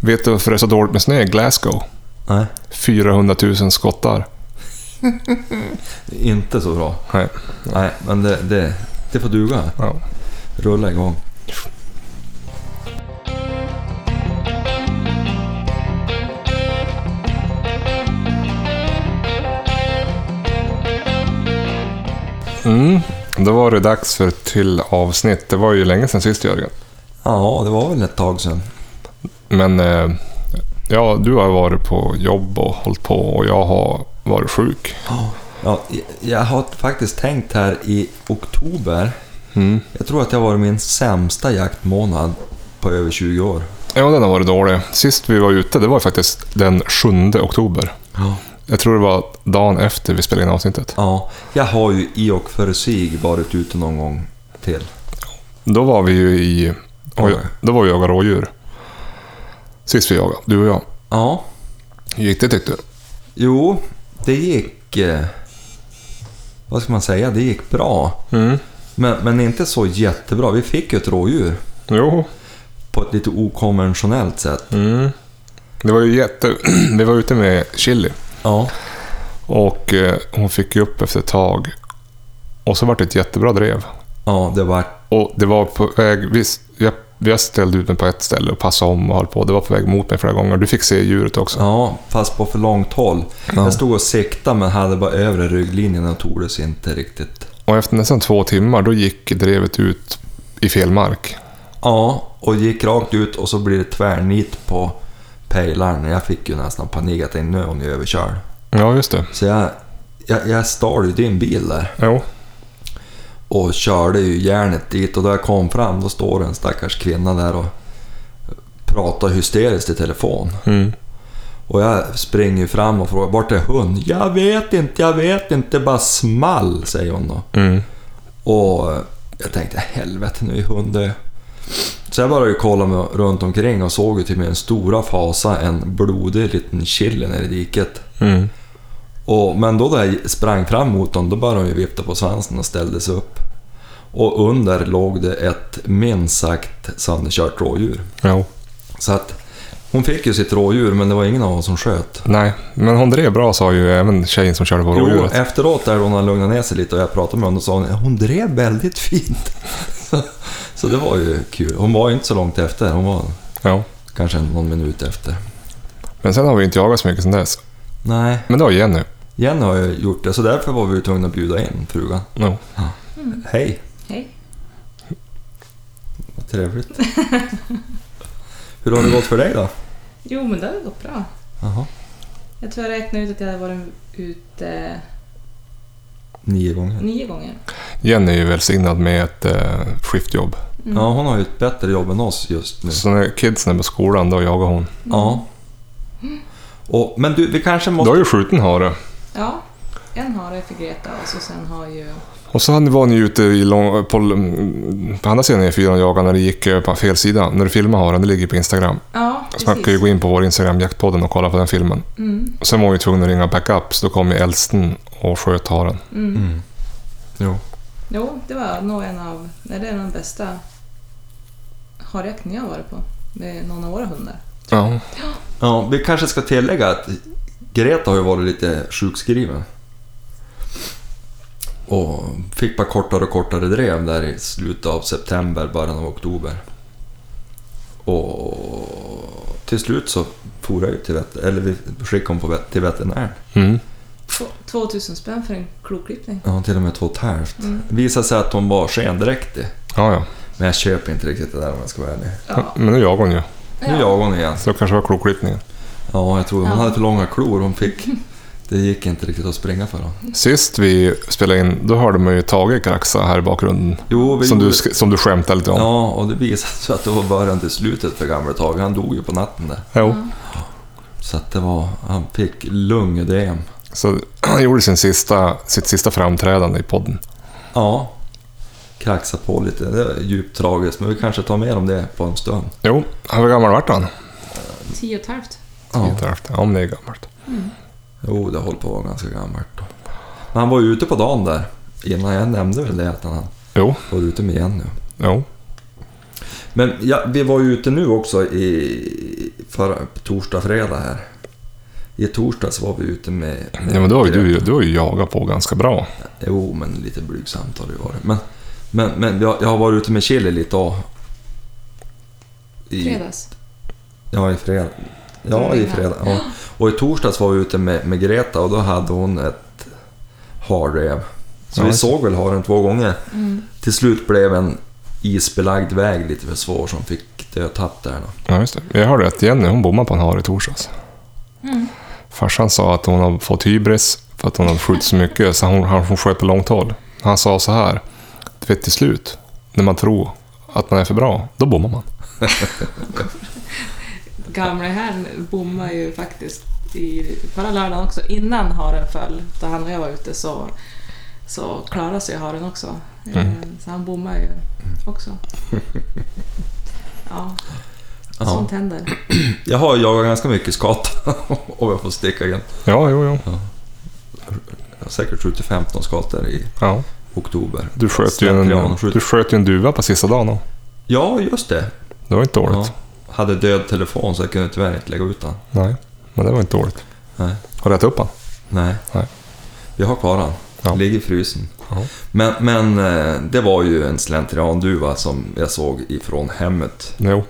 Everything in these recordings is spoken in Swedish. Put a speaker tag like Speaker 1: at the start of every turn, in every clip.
Speaker 1: Vet du varför det är så dåligt med snö i Glasgow?
Speaker 2: Nej,
Speaker 1: 400 000 skottar.
Speaker 2: det är inte så bra.
Speaker 1: Nej.
Speaker 2: Nej, men det, det, det får duga.
Speaker 1: Ja.
Speaker 2: Rulla igång.
Speaker 1: Mm. Då var det dags för ett till avsnitt. Det var ju länge sedan sist Jörgen.
Speaker 2: Ja, det var väl ett tag sedan.
Speaker 1: Men eh, ja, du har varit på jobb och hållit på och jag har varit sjuk.
Speaker 2: Ja, jag- jag har faktiskt tänkt här i oktober.
Speaker 1: Mm.
Speaker 2: Jag tror att det har varit min sämsta jaktmånad på över 20 år.
Speaker 1: Ja, den har varit dålig. Sist vi var ute, det var faktiskt den 7 oktober.
Speaker 2: Ja.
Speaker 1: Jag tror det var dagen efter vi spelade in avsnittet.
Speaker 2: ja. Jag har ju i och för sig varit ute någon gång till.
Speaker 1: Då var vi ju i... Och
Speaker 2: Oj.
Speaker 1: jag, då var vi och jagade rådjur. Sist vi jagade, du och jag.
Speaker 2: Ja,
Speaker 1: Hur gick det tyckte du?
Speaker 2: jo, det gick... eh, Vad ska man säga? Det gick bra.
Speaker 1: Mm.
Speaker 2: Men, men inte så jättebra. Vi fick ju ett rådjur
Speaker 1: Jo.
Speaker 2: på ett lite okonventionellt sätt.
Speaker 1: Mm. Det var ju jätte... vi var ute med Chili.
Speaker 2: Ja.
Speaker 1: Och eh, hon fick ju upp efter ett tag. Och så var det ett jättebra drev.
Speaker 2: Ja, det var...
Speaker 1: Och det var på väg... Visst, jag, jag ställde ut mig på ett ställe och passade om och höll på. Det var på väg mot mig flera gånger. Du fick se djuret också.
Speaker 2: Ja, fast på för långt håll. Jag stod och siktade men hade bara övre rygglinjen och tordes inte riktigt.
Speaker 1: Och efter nästan två timmar, då gick drevet ut i fel mark.
Speaker 2: Ja, och gick rakt ut och så blir det tvärnit på pejlaren. Jag fick ju nästan panik att nu är hon ju överkörd.
Speaker 1: Ja, just det.
Speaker 2: Så jag, jag, jag stal ju din bil där
Speaker 1: Jo.
Speaker 2: och körde ju järnet dit och då jag kom fram då står en stackars kvinna där och pratar hysteriskt i telefon.
Speaker 1: Mm.
Speaker 2: Och jag springer ju fram och frågar vart är hon? Jag vet inte, jag vet inte, det bara small säger hon då.
Speaker 1: Mm.
Speaker 2: Och jag tänkte helvete nu är hunden Så jag började ju kolla mig runt omkring och såg ju till min stora fasa en blodig liten chili nere i diket.
Speaker 1: Mm.
Speaker 2: Och, men då när jag sprang fram mot honom då började hon ju vifta på svansen och ställde sig upp. Och under låg det ett minst sagt sönderkört rådjur.
Speaker 1: Jo.
Speaker 2: Så att hon fick ju sitt rådjur men det var ingen av oss som sköt.
Speaker 1: Nej, men hon drev bra sa ju även tjejen som körde på
Speaker 2: Jo,
Speaker 1: rådjuret.
Speaker 2: efteråt där hon hade lugnat ner sig lite och jag pratade med henne och sa hon, hon drev väldigt fint. Så, så det var ju kul. Hon var ju inte så långt efter. Hon var
Speaker 1: Ja.
Speaker 2: kanske någon minut efter.
Speaker 1: Men sen har vi inte jagat så mycket sen dess.
Speaker 2: Nej,
Speaker 1: Men det var Jenny.
Speaker 2: Jenny har ju gjort det så därför var vi ju tvungna att bjuda in frugan.
Speaker 1: Jo.
Speaker 2: Hej,
Speaker 3: Hej.
Speaker 2: vad trevligt. Hur har det gått för dig då?
Speaker 3: Jo, men det har gått bra.
Speaker 2: Jaha,
Speaker 3: Jag tror jag räknade ut att jag hade varit ute
Speaker 2: nio gånger.
Speaker 3: nio gånger.
Speaker 1: Jenny är ju välsignad med ett eh, skiftjobb.
Speaker 2: Ja, hon har ju ett bättre jobb än oss just nu.
Speaker 1: Så när kidsen är på skolan, då jagar hon.
Speaker 2: Ja. Och, men du, vi kanske
Speaker 1: Då
Speaker 2: måste...
Speaker 1: har ju skjuten hare.
Speaker 3: Ja, en har jag för Greta och så sen har ju...
Speaker 1: Och så hade- var ni ute i lång, på, på andra sidan E4 och jagade när det gick eh, på fel sida. När du filmade haren, det ligger på Instagram.
Speaker 3: Ja,
Speaker 1: Så man kan ju
Speaker 3: precis.
Speaker 1: gå in på vår Instagram, jaktpodden, och kolla på den filmen.
Speaker 3: Mm,
Speaker 1: Sen var vi tvungna att ringa backup, så då kom ju äldsten och sköt haren.
Speaker 3: mm.
Speaker 2: Mm. Jo.
Speaker 3: Jo, det var nog en av... Nej, det är den bästa harjakten jag har varit på med någon av våra hundar.
Speaker 1: Ja.
Speaker 2: Ja, vi kanske ska tillägga att Greta har ju varit lite sjukskriven. Och fick bara kortare och kortare drev där i slutet av september, början av oktober. Och till slut så for jag ju till vet- eller vi skickade hon på vet- till veterinären.
Speaker 1: Mm.
Speaker 3: Två- 2000 spänn för en kloklippning.
Speaker 2: Ja, till och med två och ett halvt. Visade sig att hon var skendräktig.
Speaker 1: Ja, ja.
Speaker 2: Men jag köper inte riktigt det där om jag ska vara ärlig.
Speaker 3: Ja.
Speaker 1: Men nu jagar hon ju.
Speaker 2: Nu jagar hon igen.
Speaker 1: Så det kanske var kloklippningen.
Speaker 2: Ja, jag tror hon
Speaker 3: Ja.
Speaker 2: hade för långa klor. Hon fick... Det gick inte riktigt att springa för honom.
Speaker 1: Sist vi spelade in, då hörde man ju Tage kraxa här i bakgrunden.
Speaker 2: Jo, vi
Speaker 1: Som du,
Speaker 2: gjorde-
Speaker 1: sk- som du skämtade lite om.
Speaker 2: Ja, och det visade sig att det var början till slutet för gamle Tage. Han dog ju på natten där.
Speaker 1: Jo.
Speaker 2: Så att det var... Han fick lungödem.
Speaker 1: Så han gjorde sin sista, sitt sista framträdande i podden.
Speaker 2: Ja. Kraxa på lite. Det är djupt tragiskt, men vi kanske tar mer om det på en stund.
Speaker 1: Jo, hur gammal vart han?
Speaker 3: Tio och ett halvt.
Speaker 2: Ja.
Speaker 1: Inte halvt. Ja, men det är gammalt.
Speaker 2: Jo, det håller på att vara ganska gammalt. då. Men han var ju ute på dagen där. Innan jag nämnde väl det att han
Speaker 1: Jo,
Speaker 2: var ute med Jenny.
Speaker 1: jo.
Speaker 2: Men ja, vi var ju ute nu också i, förra, torsdag, fredag här. I torsdags var vi ute med... med
Speaker 1: Ja, men då har ju du, du har ju jagat på ganska bra.
Speaker 2: Jo, men lite blygsamt har det ju varit. Men, men, men jag, jag har varit ute med chili lite och... I,
Speaker 3: Fredags.
Speaker 2: Ja, i fredag. Ja, i fredag. Ja. Och i torsdags var vi ute med, med Greta och då hade hon ett harrev. Så
Speaker 1: Ja,
Speaker 2: vi
Speaker 1: just det.
Speaker 2: såg väl haren två gånger.
Speaker 3: Mm.
Speaker 2: Till slut blev en isbelagd väg lite för svår som fick dödtapp där. Då.
Speaker 1: Ja, just det. Jag hörde att Jenny hon bommade på en hare i torsdags.
Speaker 3: Mm.
Speaker 1: Farsan sa att hon har fått hybris för att hon har skjutit så mycket, så hon, han- hon sköt på långt håll. Han sa så här, du vet till slut, när man tror att man är för bra, då bommar man.
Speaker 3: Gamla herrn bommade ju faktiskt i förra lördagen också. Innan haren föll, då han och jag var ute, så, så klarade sig haren också.
Speaker 1: Mm.
Speaker 3: Eh, Så han bommade ju också. Ja,
Speaker 2: Ja.
Speaker 3: sånt händer.
Speaker 2: Jag har jagat ganska mycket skata om jag får sticka igen.
Speaker 1: Ja, jo, jo.
Speaker 2: Jag har säkert skjutit 15 skator i
Speaker 1: Ja.
Speaker 2: oktober.
Speaker 1: Du, sköt ju en,
Speaker 2: Slentrian skjut.
Speaker 1: du sköt ju en duva på sista dagen. då.
Speaker 2: Ja, just det.
Speaker 1: Det var inte
Speaker 2: Ja.
Speaker 1: dåligt.
Speaker 2: Hade död telefon så jag kunde tyvärr inte lägga ut den.
Speaker 1: Nej, men det var inte dåligt.
Speaker 2: Nej.
Speaker 1: Har du ätit upp han?
Speaker 2: Nej.
Speaker 1: Nej.
Speaker 2: Vi har kvar den.
Speaker 1: Ja.
Speaker 2: Ligger i frysen.
Speaker 1: Ja.
Speaker 2: Men, men eh, det var ju en slentrianduva som jag såg ifrån hemmet.
Speaker 1: Jo.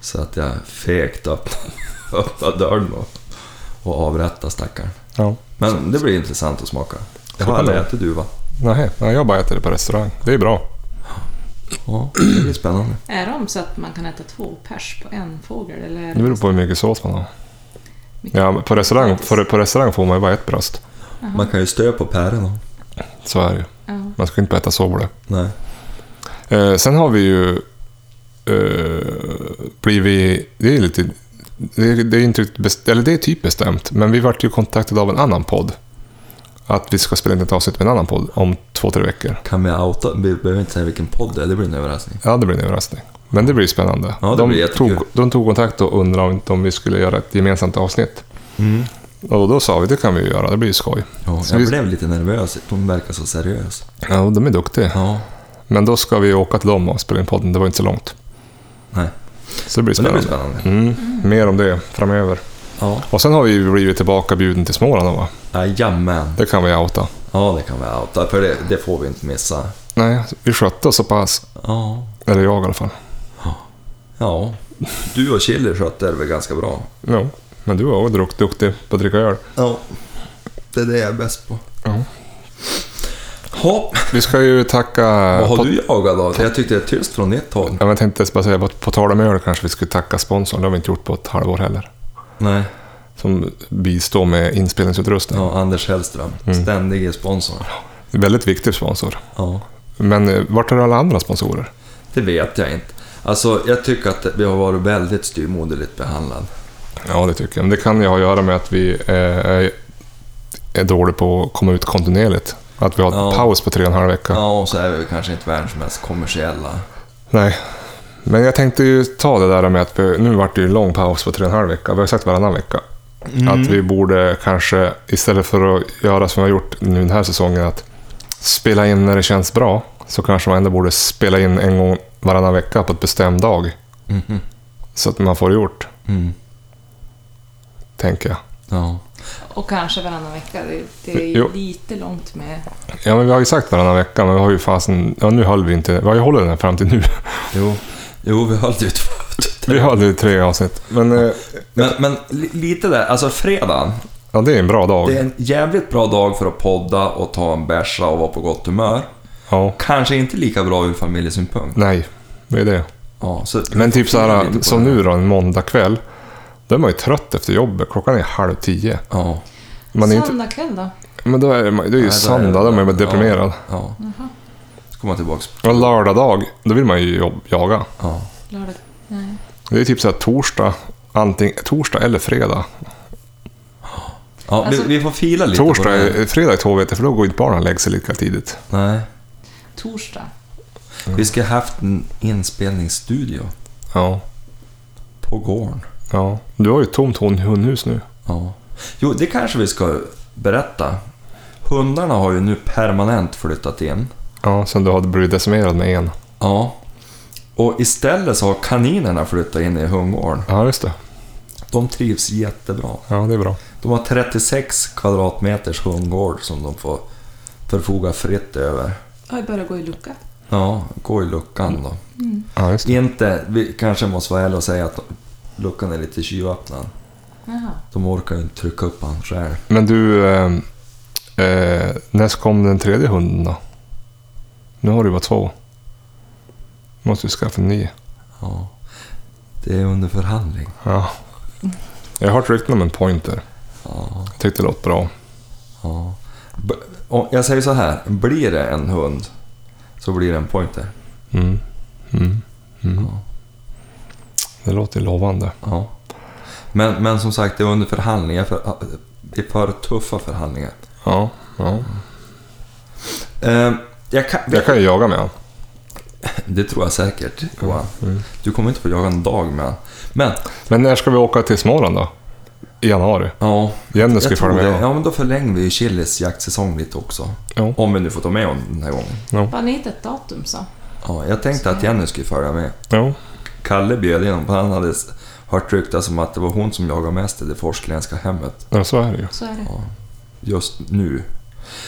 Speaker 2: Så att jag fegt öppnade, öppnade dörren och, och avrättade stackaren.
Speaker 1: Ja.
Speaker 2: Men det blir intressant att smaka. Jag har
Speaker 1: Spännande.
Speaker 2: aldrig ätit duva.
Speaker 1: Nej, nej, jag bara äter det på restaurang. Det är bra.
Speaker 2: Ja, det blir spännande.
Speaker 3: Är de så att man kan äta två pers på en fågel? Eller är
Speaker 1: Det beror på hur mycket sås man har.
Speaker 3: Mycket
Speaker 1: Ja, men på, restaurang, för, på restaurang får man ju bara ett bröst.
Speaker 2: Man kan ju stö på päron. och-
Speaker 1: Så är det ju.
Speaker 3: Ja.
Speaker 1: Man ska ju inte äta soble.
Speaker 2: Nej.
Speaker 1: Eh, sen har vi ju eh, blivit... Det är lite... Det, det, är inte riktigt best, eller det är typ bestämt, men vi vart ju kontaktade av en annan podd. Att vi ska spela in ett avsnitt med en annan podd om två, tre veckor.
Speaker 2: Kan vi outa? Vi behöver inte säga vilken podd det är, det blir en överraskning.
Speaker 1: Ja, det blir en överraskning. Men det blir spännande.
Speaker 2: Ja, det
Speaker 1: de,
Speaker 2: blir jättekul.
Speaker 1: tog, de tog kontakt och undrade om, inte om vi skulle göra ett gemensamt avsnitt. Och då sa vi, det kan vi ju göra, det blir ju skoj.
Speaker 2: Mm. Ja,
Speaker 1: Så
Speaker 2: jag
Speaker 1: vi-
Speaker 2: blev lite nervös, de verkar så seriösa.
Speaker 1: Ja, och de är duktiga.
Speaker 2: Ja,
Speaker 1: Men då ska vi åka till dem och spela in podden, det var inte så långt.
Speaker 2: nej.
Speaker 1: Så det blir
Speaker 2: Men det
Speaker 1: spännande.
Speaker 2: blir spännande.
Speaker 1: Mm, mer om det framöver.
Speaker 2: Ja.
Speaker 1: Och sen har vi ju blivit tillbaka bjuden till Småland då, va?
Speaker 2: Jajamän.
Speaker 1: Det kan vi outa.
Speaker 2: Ja, det kan vi outa, för det, det får vi inte missa.
Speaker 1: Nej, vi skötte oss så pass.
Speaker 2: Ja.
Speaker 1: Eller jag i alla fall.
Speaker 2: Ja. Du och Chili skötte det väl ganska bra?
Speaker 1: Jo, men du var också druck- duktig på att dricka öl.
Speaker 2: Ja. Det är det jag är bäst på.
Speaker 1: Ja.
Speaker 2: Hopp.
Speaker 1: Vi ska ju tacka...
Speaker 2: Vad har du jagat då? Jag tyckte det är tyst från ditt håll.
Speaker 1: Ja, men Jag tänkte bara säga, på, på tal om öl kanske vi skulle tacka sponsorn. Det har vi inte gjort på ett halvår heller.
Speaker 2: Nej.
Speaker 1: Som bistår med inspelningsutrustning.
Speaker 2: Ja, Anders Hellström. Ständige sponsor.
Speaker 1: Väldigt viktig sponsor.
Speaker 2: Mm. Ja.
Speaker 1: Men eh, vart är alla andra sponsorer?
Speaker 2: Det vet jag inte. Alltså, jag tycker att vi har varit väldigt styrmoderligt behandlade.
Speaker 1: Ja, det tycker jag. Men det kan ju ha att göra med att vi eh, är, är dåliga på att komma ut kontinuerligt. Att vi har
Speaker 2: Ja.
Speaker 1: paus på tre och en halv vecka.
Speaker 2: Ja, och så är vi kanske inte världens mest kommersiella.
Speaker 1: Nej. Men jag tänkte ju ta det där med att vi, nu vart det ju en lång paus på tre och en halv vecka. Vi har sagt varannan vecka.
Speaker 2: Mm.
Speaker 1: Att vi borde kanske, istället för att göra som vi har gjort nu den här säsongen, att spela in när det känns bra, så kanske man ändå borde spela in en gång varannan vecka på ett bestämd dag.
Speaker 2: Mhm.
Speaker 1: Så att man får det gjort,
Speaker 2: Mm.
Speaker 1: tänker jag.
Speaker 2: Ja.
Speaker 3: Och kanske varannan vecka. Det, det är ju
Speaker 1: Jo.
Speaker 3: lite långt med...
Speaker 1: Ja, men vi har ju sagt varannan vecka, men vi har ju fasen... Ja, nu höll vi inte... Vi har ju hållit den här fram till nu.
Speaker 2: Jo. jo, vi höll ju två.
Speaker 1: Vi höll ju tre avsnitt. Men eh,
Speaker 2: Men, men li- lite där, alltså fredagen.
Speaker 1: ja, det är en bra dag.
Speaker 2: Det är en jävligt bra dag för att podda och ta en bärsa och vara på gott humör.
Speaker 1: Ja.
Speaker 2: Kanske inte lika bra ur familjesynpunkt.
Speaker 1: Nej, det är det.
Speaker 2: Ja, så
Speaker 1: Men typ så
Speaker 2: Jag är
Speaker 1: här,
Speaker 2: lite på
Speaker 1: som
Speaker 2: det.
Speaker 1: nu då, en måndagkväll. Då är man ju trött efter jobbet. Klockan är halv tio.
Speaker 2: Ja,
Speaker 1: Man är inte,
Speaker 3: Söndag kväll då?
Speaker 1: men då är man, det är ju
Speaker 2: Nej, då är
Speaker 1: söndag,
Speaker 2: det-
Speaker 1: då är man
Speaker 2: ja.
Speaker 1: deprimerad.
Speaker 2: ja. Så kommer jag tillbaks.
Speaker 1: Och lördag dag, då vill man ju jobb, jaga.
Speaker 2: Ja.
Speaker 3: Lördag? Nej.
Speaker 1: Det är typ så här torsdag, antingen torsdag eller fredag.
Speaker 2: Ja,
Speaker 3: Alltså-
Speaker 2: vi, vi får fila lite på
Speaker 1: torsdag,
Speaker 2: det. här.
Speaker 1: är, fredag är tvåvete, för då går inte barnen och lägger sig lika tidigt.
Speaker 2: Nej.
Speaker 3: Torsdag?
Speaker 2: Vi ska haft en inspelningsstudio
Speaker 1: Ja,
Speaker 2: på gården.
Speaker 1: ja. Du har ju ett tomt hon- hundhus nu.
Speaker 2: Ja. Jo, det kanske vi ska berätta. Hundarna har ju nu permanent flyttat in.
Speaker 1: Ja, sen du hade blivit decimerad med en.
Speaker 2: Ja. Och istället så har kaninerna flyttat in i hundgården.
Speaker 1: Ja, just det.
Speaker 2: De trivs jättebra.
Speaker 1: Ja, det är bra.
Speaker 2: De har 36 kvadratmeters hundgård som de får förfoga fritt över.
Speaker 3: Oj, börjar gå i lucka.
Speaker 2: Ja, gå i luckan då.
Speaker 1: Ja, just det.
Speaker 2: Inte, vi kanske måste vara ärliga och säga att luckan är lite tjuvöppnad.
Speaker 3: Jaha.
Speaker 2: De orkar ju inte trycka upp han själv.
Speaker 1: Men du, eh, eh, när kom den tredje hunden då? Nu har du bara två. måste du skaffa en ny.
Speaker 2: Ja. Det är under förhandling.
Speaker 1: Ja. Jag har hört rykten om en pointer.
Speaker 2: Ja,
Speaker 1: Jag tyckte det låt bra.
Speaker 2: ja. B- och jag säger så här, blir det en hund så blir det en pointer.
Speaker 1: Mm. Mm. Mm.
Speaker 2: Ja.
Speaker 1: Det låter lovande.
Speaker 2: ja. Men, men som sagt, det är under förhandlingar. För, det är för tuffa förhandlingar.
Speaker 1: Ja. ja.
Speaker 2: Eh, jag kan,
Speaker 1: Jag kan ju jaga med honom.
Speaker 2: Det tror jag säkert, Johan.
Speaker 1: Mm.
Speaker 2: Du kommer inte få jaga en dag med han. Men,
Speaker 1: Men när ska vi åka till Småland då? I januari?
Speaker 2: ja.
Speaker 1: Jenny ska
Speaker 2: Jag
Speaker 1: följa
Speaker 2: tror det.
Speaker 1: med.
Speaker 2: Ja, men då förlänger vi ju Chiles jaktsäsong lite också.
Speaker 1: Ja.
Speaker 2: Om vi nu får ta med honom den här gången.
Speaker 3: Bara ni inte ett datum så.
Speaker 2: Ja, jag tänkte att Jenny skulle följa med.
Speaker 1: Ja.
Speaker 2: Kalle bjöd in honom, för han hade s- hört ryktas om att det var hon som jagade mest i det forsgränska hemmet
Speaker 1: ja, så är det ju.
Speaker 3: Så är det.
Speaker 2: just nu.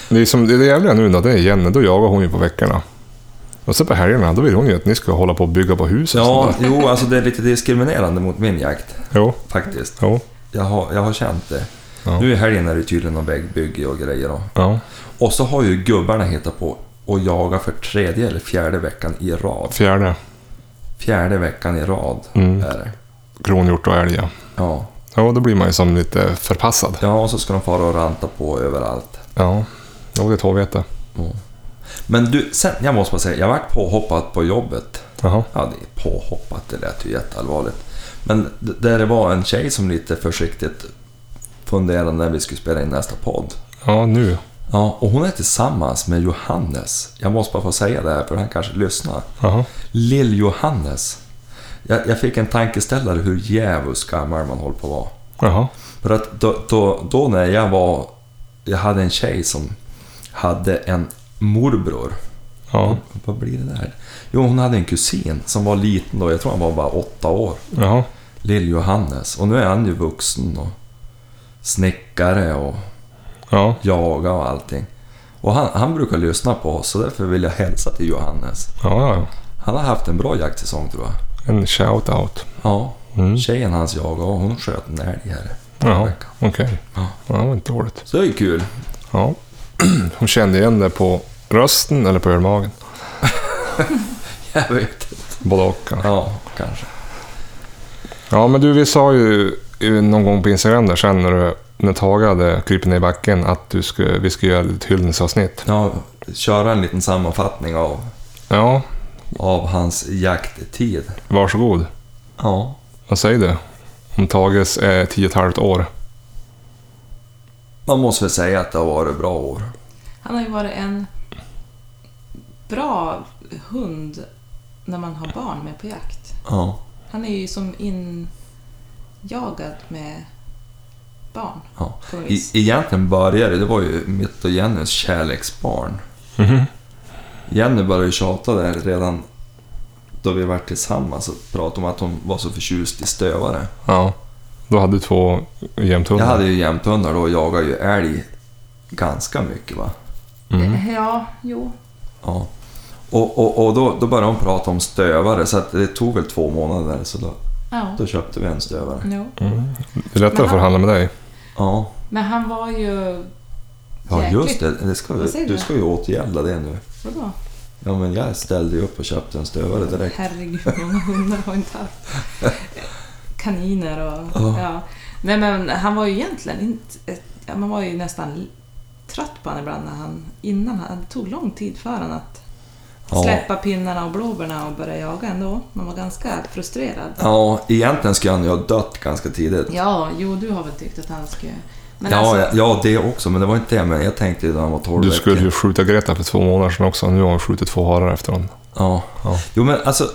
Speaker 1: Det, är som, det jävliga nu då, det är Jenny. Då jagar hon ju på veckorna. Och så på helgerna, då vill hon ju att ni ska hålla på och bygga på hus och
Speaker 2: Ja,
Speaker 1: sånt där.
Speaker 2: jo, alltså det är lite diskriminerande mot min jakt,
Speaker 1: Jo,
Speaker 2: faktiskt.
Speaker 1: jo.
Speaker 2: Jag har, jag har känt det.
Speaker 1: Ja.
Speaker 2: Nu i helgen är det tydligen någon vägbygge och grejer. Och,
Speaker 1: Ja.
Speaker 2: och så har ju gubbarna hittat på att jaga för tredje eller fjärde veckan i rad.
Speaker 1: Fjärde.
Speaker 2: Fjärde veckan i rad
Speaker 1: Mm.
Speaker 2: är det.
Speaker 1: Kronhjort och älg, ja.
Speaker 2: Ja.
Speaker 1: Ja, då blir man ju som lite förpassad.
Speaker 2: ja, och så ska de fara och ranta på överallt.
Speaker 1: Ja. Jo, det är vete.
Speaker 2: Men du, sen, jag måste bara säga, jag vart påhoppad på jobbet.
Speaker 1: Jaha.
Speaker 2: Ja, det är påhoppat, det lät ju jätteallvarligt. Men d- där det var en tjej som lite försiktigt funderade när vi skulle spela in nästa podd.
Speaker 1: Ja, nu.
Speaker 2: Ja, och hon är tillsammans med Johannes. Jag måste bara få säga det här, för han kanske lyssnar.
Speaker 1: Jaha.
Speaker 2: Lill-Johannes. Jag, jag fick en tankeställare hur djävulskt gammal man håller på att vara.
Speaker 1: Jaha.
Speaker 2: För att då, då, då när jag var... Jag hade en tjej som hade en morbror.
Speaker 1: Ja.
Speaker 2: Vad blir det där? Jo, hon hade en kusin som var liten då. Jag tror han var bara åtta år.
Speaker 1: Jaha.
Speaker 2: Lill-Johannes. Och nu är han ju vuxen och snickare och
Speaker 1: Ja.
Speaker 2: jaga och allting. Och han, han brukar lyssna på oss så därför vill jag hälsa till Johannes.
Speaker 1: Ja, ja.
Speaker 2: Han har haft en bra jaktsäsong tror jag.
Speaker 1: En shout-out.
Speaker 2: Ja,
Speaker 1: Mm.
Speaker 2: tjejen hans jagade och hon sköt en älg här. förra
Speaker 1: Jaha,
Speaker 2: veckan.
Speaker 1: okej.
Speaker 2: Ja.
Speaker 1: Ja, det var inte dåligt.
Speaker 2: Så det är ju kul.
Speaker 1: Ja. Hon kände igen det på rösten eller på ölmagen.
Speaker 2: Jag vet inte.
Speaker 1: Både och kanske.
Speaker 2: Ja, kanske.
Speaker 1: Ja, men du, vi sa ju eh, någon gång på Instagram där sen när, du, när Tage hade krypit ner i backen att du skulle, vi skulle göra ett hyllningsavsnitt.
Speaker 2: Ja, köra en liten sammanfattning av,
Speaker 1: Ja,
Speaker 2: av hans jakttid.
Speaker 1: varsågod.
Speaker 2: Ja.
Speaker 1: Vad säger du? Om Tages är tio och ett halvt år.
Speaker 2: Man måste väl säga att det har varit bra år.
Speaker 3: Han har ju varit en bra hund när man har barn med på jakt.
Speaker 2: Ja.
Speaker 3: Han är ju som injagad med barn.
Speaker 2: ja.
Speaker 3: På något
Speaker 2: E-
Speaker 3: vis.
Speaker 2: egentligen började det, det var ju mitt och Jennys kärleksbarn. Jenny började ju tjata där redan då vi var tillsammans och pratade om att hon var så förtjust i stövare.
Speaker 1: Ja. Då hade du två
Speaker 2: Jag
Speaker 1: jämthundar.
Speaker 2: hade ju jämthundar då och jagade ju älg ganska mycket va. mm.
Speaker 3: Eh, Ja, jo.
Speaker 2: Ja. Och, och, och då, då började hon prata om stövare så att det tog väl två månader så då,
Speaker 3: Ja.
Speaker 2: då köpte vi en stövare.
Speaker 3: Jo.
Speaker 1: Det är lättare att
Speaker 3: Men han-
Speaker 1: förhandla med dig.
Speaker 2: Ja,
Speaker 3: Men han var ju...
Speaker 2: ja
Speaker 3: Jäkligt.
Speaker 2: just det. det ska,
Speaker 3: Vad säger
Speaker 2: du
Speaker 3: du?
Speaker 2: ska ju återgälda det nu.
Speaker 3: Vadå?
Speaker 2: Ja men jag ställde ju upp och köpte en stövare direkt.
Speaker 3: Herregud, hur många hundar har inte haft kaniner och...
Speaker 2: Ja.
Speaker 3: Ja. Nej men han var ju egentligen inte... ett- ja, Man var ju nästan l- trött på honom ibland när han, innan han... Det tog lång tid för honom att
Speaker 2: Ja.
Speaker 3: släppa pinnarna och blåbärna och börja jaga ändå. Man var ganska frustrerad.
Speaker 2: Ja, egentligen skulle han ju ha dött ganska tidigt.
Speaker 3: Ja, jo du har väl tyckt att han skulle... Men
Speaker 2: ja,
Speaker 3: alltså,
Speaker 2: ja, ja, det också, men det var inte det. Men jag tänkte ju när han var 12
Speaker 1: Du skulle ju
Speaker 2: veckor.
Speaker 1: skjuta Greta för två månader sedan också. Nu har hon skjutit två harar efter honom.
Speaker 2: Ja.
Speaker 1: Ja.
Speaker 2: Jo, men alltså,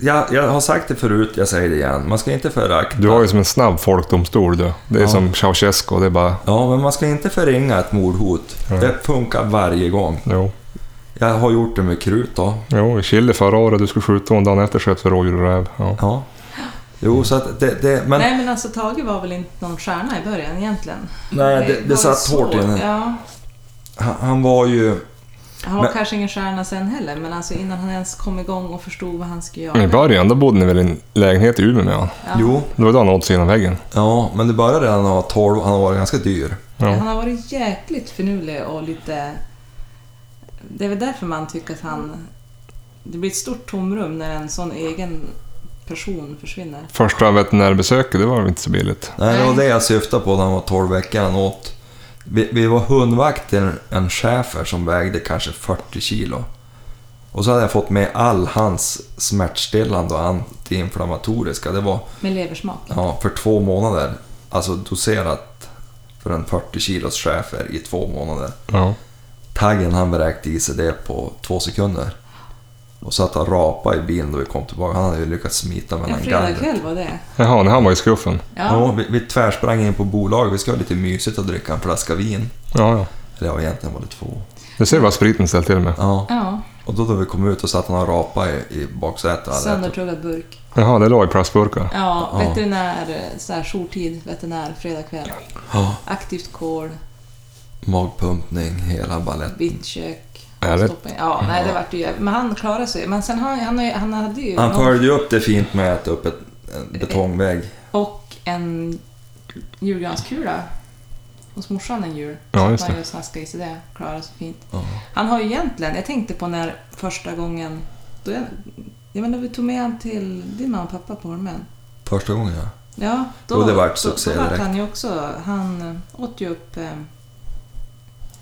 Speaker 2: jag, jag har sagt det förut, jag säger det igen. Man ska inte förakta...
Speaker 1: Du har ju som en snabb folkdomstol du. Det är
Speaker 2: Ja.
Speaker 1: som Ceausescu, det är bara...
Speaker 2: Ja, men man ska inte förringa ett mordhot. Det funkar varje gång.
Speaker 1: Jo,
Speaker 2: Jag har gjort det med krut då.
Speaker 1: jo i Chile förra året, du skulle skjuta och dagen efter sköt vi rådjur och räv. Ja.
Speaker 2: Ja. Jo, så att det... det men
Speaker 3: Nej men alltså Tage var väl inte någon stjärna i början egentligen.
Speaker 2: nej, det,
Speaker 3: var
Speaker 2: det satt
Speaker 3: svårt.
Speaker 2: hårt i den.
Speaker 3: Ja.
Speaker 2: Han, han var ju...
Speaker 3: Han var
Speaker 2: Men-
Speaker 3: kanske ingen stjärna sen heller, men alltså innan han ens kom igång och förstod vad han skulle göra.
Speaker 2: Mm.
Speaker 1: Men i början, då bodde ni väl i en lägenhet i Umeå med honom?
Speaker 3: Ja.
Speaker 2: Jo,
Speaker 1: Det var då han åt sig genom väggen.
Speaker 2: ja, men det började redan när han var 12 han var ganska dyr.
Speaker 1: Ja.
Speaker 3: Han har varit jäkligt finurlig och lite... Det är väl därför man tycker att han... Det blir ett stort tomrum när en sån egen person försvinner.
Speaker 1: Första veterinärbesöket, det var väl inte så billigt?
Speaker 2: Nej, det var
Speaker 3: Nej.
Speaker 2: det jag syftade på när han var 12 veckor. Han åt. Vi, vi var hundvakt till en schäfer som vägde kanske 40 kilo. Och så hade jag fått med all hans smärtstillande och antiinflammatoriska. Det var
Speaker 3: Med leversmak.
Speaker 2: ja, för två månader. Alltså doserat för en 40 kilos schäfer i två månader.
Speaker 1: Ja.
Speaker 2: Taggen han vräkte i sig det på två sekunder. Och satt och rapade i bilen då vi kom tillbaka. Han hade ju lyckats smita mellan
Speaker 3: En fredagkväll
Speaker 2: gallret.
Speaker 3: var det.
Speaker 1: Jaha, när han var i skuffen?
Speaker 2: Ja,
Speaker 3: Ja.
Speaker 2: vi, vi tvärsprang in på bolaget. Vi skulle ha lite mysigt och dricka en flaska vin.
Speaker 1: Ja, ja.
Speaker 2: Eller ja, egentligen var det två.
Speaker 1: Du ser vad spriten ställt till med.
Speaker 2: Ja.
Speaker 3: Ja,
Speaker 2: Och då när vi kom ut och satt han och rapade i, i baksätet. och hade ätit.
Speaker 3: söndertuggad burk.
Speaker 1: Jaha, det låg i plastburkar.
Speaker 3: Ja,
Speaker 2: Ja.
Speaker 3: veterinär, så här jourtid, veterinär, fredagkväll.
Speaker 2: Ja,
Speaker 3: Aktivt kol,
Speaker 2: magpumpning, hela baletten.
Speaker 3: bittkök.
Speaker 1: Härligt.
Speaker 3: stoppa in- Ja, nej det vart ju jävligt. Men han klarade sig. Men sen han, han, har ju- han hade ju...
Speaker 2: Han
Speaker 3: någon-
Speaker 2: följde ju upp det fint med att äta upp ett, en betongvägg.
Speaker 3: Och en julgranskula. Hos morsan en jul.
Speaker 1: Ja,
Speaker 3: Så
Speaker 1: just
Speaker 3: att
Speaker 1: det.
Speaker 3: man ju snaskade i sig det. Klarade sig fint.
Speaker 2: Ja.
Speaker 3: Han har ju egentligen, jag tänkte på när första gången... Då jag, jag menar, vi tog med han till din mamma och pappa på Holmen.
Speaker 2: Första gången ja.
Speaker 3: Ja, då,
Speaker 2: Jo, det vart
Speaker 3: då,
Speaker 2: succé
Speaker 3: då vart
Speaker 2: direkt.
Speaker 3: han ju också... Han åt ju upp eh,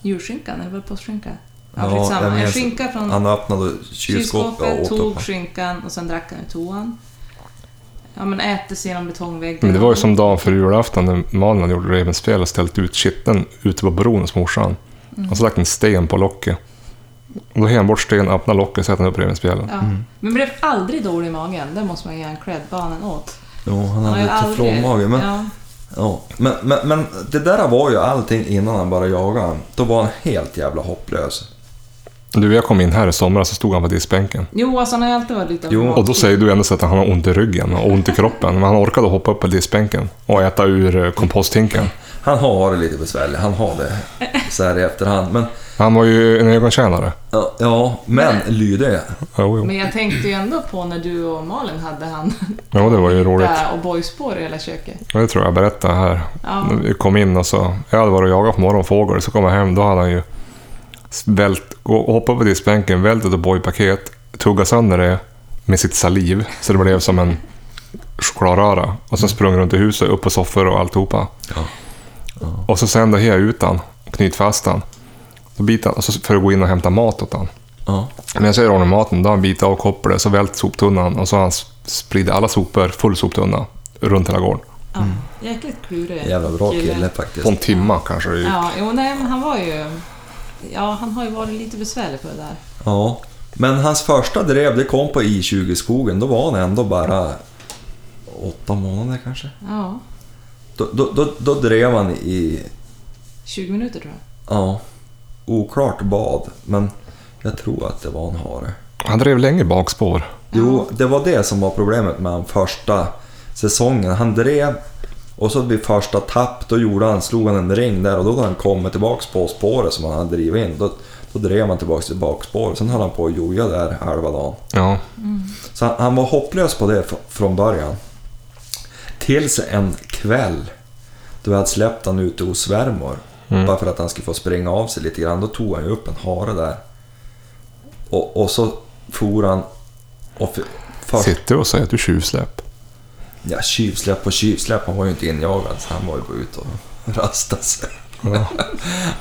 Speaker 3: julskinkan, eller var det påskskinka? Ja,
Speaker 2: Ja,
Speaker 3: skitsamma.
Speaker 2: jag
Speaker 3: En
Speaker 2: minns-
Speaker 3: skinka från
Speaker 2: Han öppnade kylskåpet och
Speaker 3: kylskåpet,
Speaker 2: åt
Speaker 3: tog
Speaker 2: upp den.
Speaker 3: skinkan och sen drack han ur toan. Ja, men äter sig genom betongväggen.
Speaker 1: Men det var ju som dagen före julafton när Malin hade gjort revbensspjäll och ställt ut kitteln ute på bron hos morsan. Och så lagt en sten på locket. Och då hängde han bort stenen, öppnade locket och satte upp revbensspjällen.
Speaker 3: Ja.
Speaker 2: Mm.
Speaker 3: Men blev aldrig dålig i magen. Det måste man ge en cred barnen åt.
Speaker 2: Jo, han
Speaker 3: har
Speaker 2: hade
Speaker 3: ju
Speaker 2: lite
Speaker 3: aldrig-
Speaker 2: flåmmage. Men,
Speaker 3: ja.
Speaker 2: ja. men, men, men det där var ju allting innan han började jaga han. Då var han helt jävla hopplös.
Speaker 1: Du, jag kom in här i somras så stod han på diskbänken.
Speaker 3: Jo, alltså han har ju alltid varit lite av
Speaker 2: Jo,
Speaker 3: en
Speaker 1: Och då
Speaker 3: matkick.
Speaker 1: säger du endast att han har ont i ryggen och ont i kroppen. Men han orkade hoppa upp på diskbänken och äta ur eh, komposthinken.
Speaker 2: Han har det lite besvärligt. Han har det så här i efterhand. Men,
Speaker 1: Han var ju en ögontjänare.
Speaker 2: ja, ja, men lydig.
Speaker 1: Jo, jo.
Speaker 3: Men jag tänkte ju ändå på när du och Malin hade han
Speaker 1: Ja, det var ju roligt.
Speaker 3: där och boyspår i hela köket.
Speaker 1: Ja, Det tror jag jag berättade här.
Speaker 3: Ja.
Speaker 1: Vi kom in och så... Jag hade varit och jagat på morgonfågel, så kom jag hem. Då hade han ju vält, gå- hoppat på diskbänken, vält ett O'boy-paket, tuggat sönder det med sitt saliv, så det blev som en chokladröra. Och sen sprung runt i huset, upp på soffor och alltihopa.
Speaker 2: Mm. Ja. Ja.
Speaker 1: Och så sen då jag ut han, knyt fast han. Så bit han, och så för att gå in och hämta mat åt han.
Speaker 2: Ja.
Speaker 1: Men jag säger honom maten, då har han bitit av kopplet, så vält soptunnan och så har han spridit alla sopor, full soptunna, runt hela gården.
Speaker 3: Ja, Jäkligt klurig
Speaker 2: Mm. Jävla bra kille faktiskt.
Speaker 1: På en timma kanske det gick.
Speaker 3: Ja, jo, nej, men han var ju... Ja, han har ju varit lite besvärlig på det där.
Speaker 2: Ja. Men hans första drev, det kom på I20-skogen. Då var han ändå bara åtta månader kanske.
Speaker 3: Ja,
Speaker 2: Då, då, då, då drev han i
Speaker 3: 20 minuter tror jag.
Speaker 2: Ja. Oklart bad, men jag tror att det var en hare.
Speaker 1: Han drev länge bakspår.
Speaker 2: Jo, det var det som var problemet med han första säsongen. Han drev och så vid första tapp då gjorde han, slog han en ring där och då när han kommer tillbaks på spåret som han hade drivit in då, då drev han tillbaks till bakspåret. Sen höll han på att joja där halva dagen.
Speaker 1: Ja.
Speaker 2: Så han, han var hopplös på det fr- från början. Tills en kväll då vi hade släppt han ute hos svärmor. Bara för att han skulle få springa av sig lite grann. Då tog han ju upp en hare där. Och, och så for han... Och för, först,
Speaker 1: Sitter och säger att du tjuvsläpp.
Speaker 2: ja, tjuvsläpp och tjuvsläpp. Han var ju inte injagad så han var ju bara ute och rastade sig.
Speaker 1: Ja.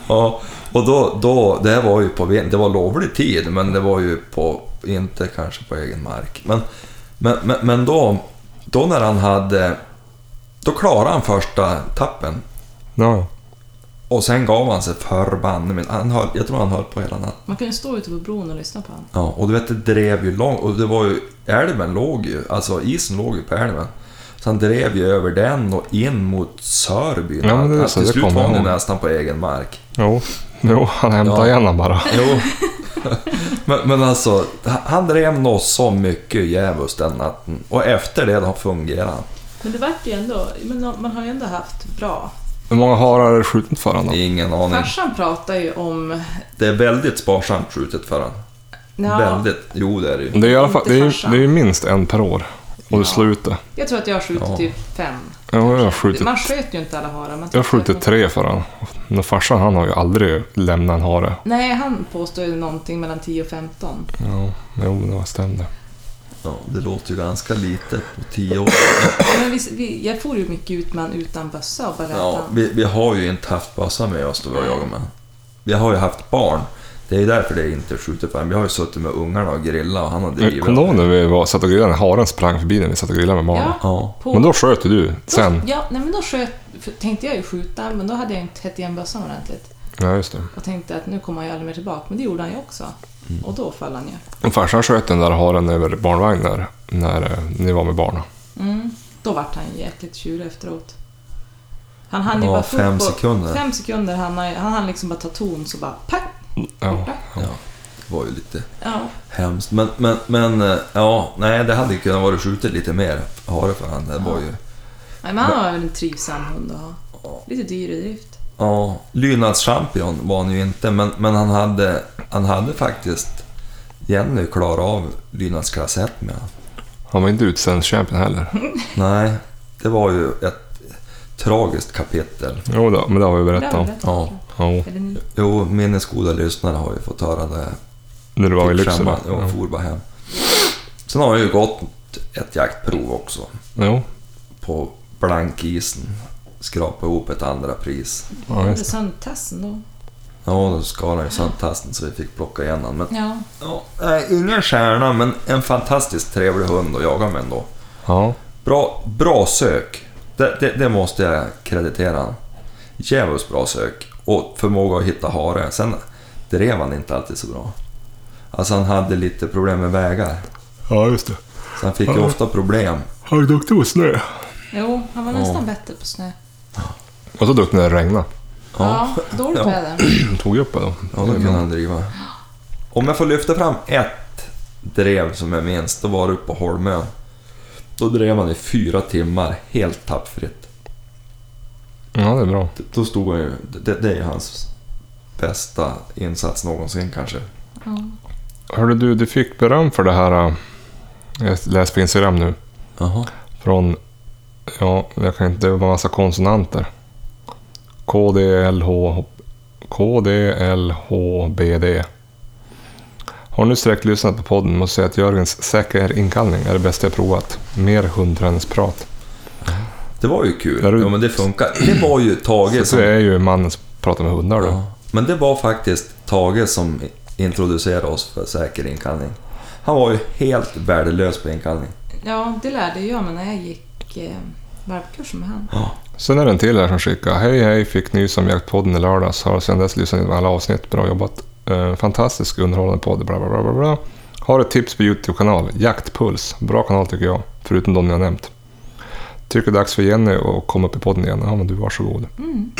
Speaker 2: Ja, och då, då, det här var ju på vin- det var lovlig tid, men det var ju på, inte kanske på egen mark. Men, men, men, men då, då när han hade, då klarade han första tappen
Speaker 1: ja.
Speaker 2: och sen gav han sig förbanne men han höll, jag tror han höll på hela natten.
Speaker 3: Man kunde stå ute på bron och lyssna på honom.
Speaker 2: Ja, och du vet, det drev ju långt, och det var ju, älven låg ju, alltså isen låg ju på älven. Så han drev ju över den och in mot Sörby.
Speaker 1: Ja, men det är
Speaker 2: Alltså,
Speaker 1: så, det
Speaker 2: till slut
Speaker 1: kommer
Speaker 2: var
Speaker 1: jag
Speaker 2: han ju
Speaker 1: ihåg.
Speaker 2: nästan på egen mark.
Speaker 1: Jo. Jo, han hämtar
Speaker 2: Ja.
Speaker 1: igen han bara.
Speaker 2: Jo. Men, men alltså, han- han drev nog så mycket i Gävus den natten. Och efter det har fungerat. han.
Speaker 3: Men det vart ju ändå, men man har ju ändå haft bra.
Speaker 1: Hur många harar är det skjutit för honom?
Speaker 2: Ingen aning.
Speaker 3: Farsan pratar ju om...
Speaker 2: Det är väldigt sparsamt skjutet för han. Väldigt. Jo, det är det ju.
Speaker 1: Det är, i alla fall, det, är,
Speaker 3: farsan.
Speaker 1: det är minst en per år. Och
Speaker 3: Ja.
Speaker 1: du slutar.
Speaker 3: Jag tror att jag har skjutit
Speaker 2: Ja.
Speaker 3: typ fem.
Speaker 1: Ja, jag har skjutit,
Speaker 3: Man sköt ju inte alla harar.
Speaker 1: jag
Speaker 3: man
Speaker 1: har
Speaker 3: tyckte att
Speaker 1: skjutit
Speaker 3: man-
Speaker 1: tre för honom. Men Farsan han har ju aldrig lämnat en hare.
Speaker 3: Nej, han påstår ju någonting mellan 10 och 15.
Speaker 1: Ja, jo, det stämde.
Speaker 2: Ja, det låter ju ganska litet på tio år.
Speaker 3: Men vi, vi, jag for ju mycket ut med han utan bössa och bara lät
Speaker 2: Ja,
Speaker 3: han.
Speaker 2: vi, vi har ju inte haft bössa med oss då vi har jagat med. Vi har ju haft barn. Det är ju därför det inte skjuter på honom. Vi har ju suttit med ungarna och grillat och han har drivit.
Speaker 1: Kommer du ihåg när vi var, satt och grillade? när Haren sprang förbi när vi satt och grillade med magen.
Speaker 3: Ja,
Speaker 2: Ja.
Speaker 3: på,
Speaker 1: Men då sköt ju du
Speaker 3: då-
Speaker 1: sen.
Speaker 3: Ja, nej, men då sköt, för, tänkte jag ju skjuta, men då hade jag inte tätt igen bössan ordentligt.
Speaker 1: Ja, just det.
Speaker 3: Och tänkte att nu kommer han ju aldrig mer tillbaka, men det gjorde han ju också.
Speaker 2: Mm.
Speaker 3: Och då föll han ju.
Speaker 1: Och farsan sköt den där haren över barnvagn när, när eh, ni var med barnen.
Speaker 3: Mm. Då vart han ju jäkligt tjurig efteråt. Han hann ju
Speaker 2: Ja,
Speaker 3: bara få upp
Speaker 2: fem
Speaker 3: på-
Speaker 2: sekunder.
Speaker 3: Fem sekunder hann han, han hann liksom bara ta ton så bara pack!
Speaker 1: Ja.
Speaker 3: Borta.
Speaker 2: ja, det var ju lite
Speaker 3: Ja.
Speaker 2: hemskt. Men, men, men eh, ja, nej det hade kunnat vara skjutet lite mer hare för han. Det var ju...
Speaker 3: Nej, men han var väl en trivsam hund att ha.
Speaker 2: Ja.
Speaker 3: Lite dyr i drift.
Speaker 2: Ja, lydnadschampion var han ju inte, men, men han, hade, han hade faktiskt Jenny klarat av lydnadsklass 1 med han.
Speaker 1: Han var inte utsänd champion heller.
Speaker 2: Nej, det var ju ett tragiskt kapitel.
Speaker 1: Jo, då, men det har vi
Speaker 3: Det har
Speaker 1: berättat
Speaker 3: vi
Speaker 1: om.
Speaker 3: berättat,
Speaker 2: Ja.
Speaker 3: tror jag.
Speaker 1: Jo,
Speaker 3: Eller ni?
Speaker 2: Jo, minnesgoda lyssnare har ju fått höra det.
Speaker 1: när du var i Lycksele.
Speaker 2: Jag
Speaker 1: Typ Ja.
Speaker 2: for bara hem. Sen har jag ju gått ett jaktprov också
Speaker 1: Jo,
Speaker 2: på blankisen. Skrapa ihop ett andra pris.
Speaker 1: ja,
Speaker 3: Eller
Speaker 1: just det.
Speaker 3: söndagstassen då.
Speaker 2: Ja, då skar han ju sönder tassen så vi fick plocka igen han. Men,
Speaker 3: Ja.
Speaker 2: ja, nej, ingen stjärna, men en fantastiskt trevlig hund att jaga med ändå.
Speaker 1: Ja.
Speaker 2: Bra, bra sök. Det, det, det måste jag kreditera han. Djävulskt bra sök och förmåga att hitta hare. Sen drev han inte alltid så bra. Alltså han hade lite problem med vägar.
Speaker 1: ja, just det.
Speaker 2: Så han fick ju
Speaker 1: Ja.
Speaker 2: ofta problem.
Speaker 1: Har du duktig på snö?
Speaker 3: Jo, han var
Speaker 2: Ja.
Speaker 3: nästan bättre på snö.
Speaker 1: Och så duktig när det regnade.
Speaker 3: Ja, dåligt
Speaker 2: Ja.
Speaker 3: väder.
Speaker 1: Tog ju upp det då.
Speaker 2: Ja, då kunde han driva. Om jag får lyfta fram ett drev som jag minns, då var det uppe på Holmön. Då drev han i fyra timmar helt tappfritt.
Speaker 1: Ja, det är bra.
Speaker 2: D- Då stod han ju... Det, det är ju hans bästa insats någonsin kanske.
Speaker 3: Ja.
Speaker 1: Hörde du, du fick beröm för det här. eh, Jag läste på Instagram nu.
Speaker 2: Jaha.
Speaker 1: Från, ja, jag kan inte, det var massa konsonanter. K, D, L, H, K, D, L, H, B, D. Har nu sträckt lyssnat på podden måste säga att Jörgens säker inkallning är det bästa jag provat. Mer hundträningsprat.
Speaker 2: Det var ju kul.
Speaker 1: Är du-
Speaker 2: Ja, men det funkar. Det var ju Tage
Speaker 1: Så
Speaker 2: som...
Speaker 1: det är ju mannen som pratar med hundar då.
Speaker 2: Ja. Men det var faktiskt Tage som introducerade oss för säker inkallning. Han var ju helt värdelös på inkallning.
Speaker 3: ja, det lärde jag mig när jag gick eh, varvkursen med han.
Speaker 1: Sen är det en till här som skickar. Hej hej, fick nys om jaktpodden i lördags. Har sedan dess lyssnat igenom alla avsnitt. Bra jobbat. Eh, fantastisk underhållande podd. Bla, bla, bla, bla, bla. Har ett tips på Youtube-kanal. Jaktpuls. Bra kanal tycker jag. Förutom de ni har nämnt. Tycker det är dags för Jenny att komma upp i podden igen. Ja, men du varsågod.
Speaker 3: Mm.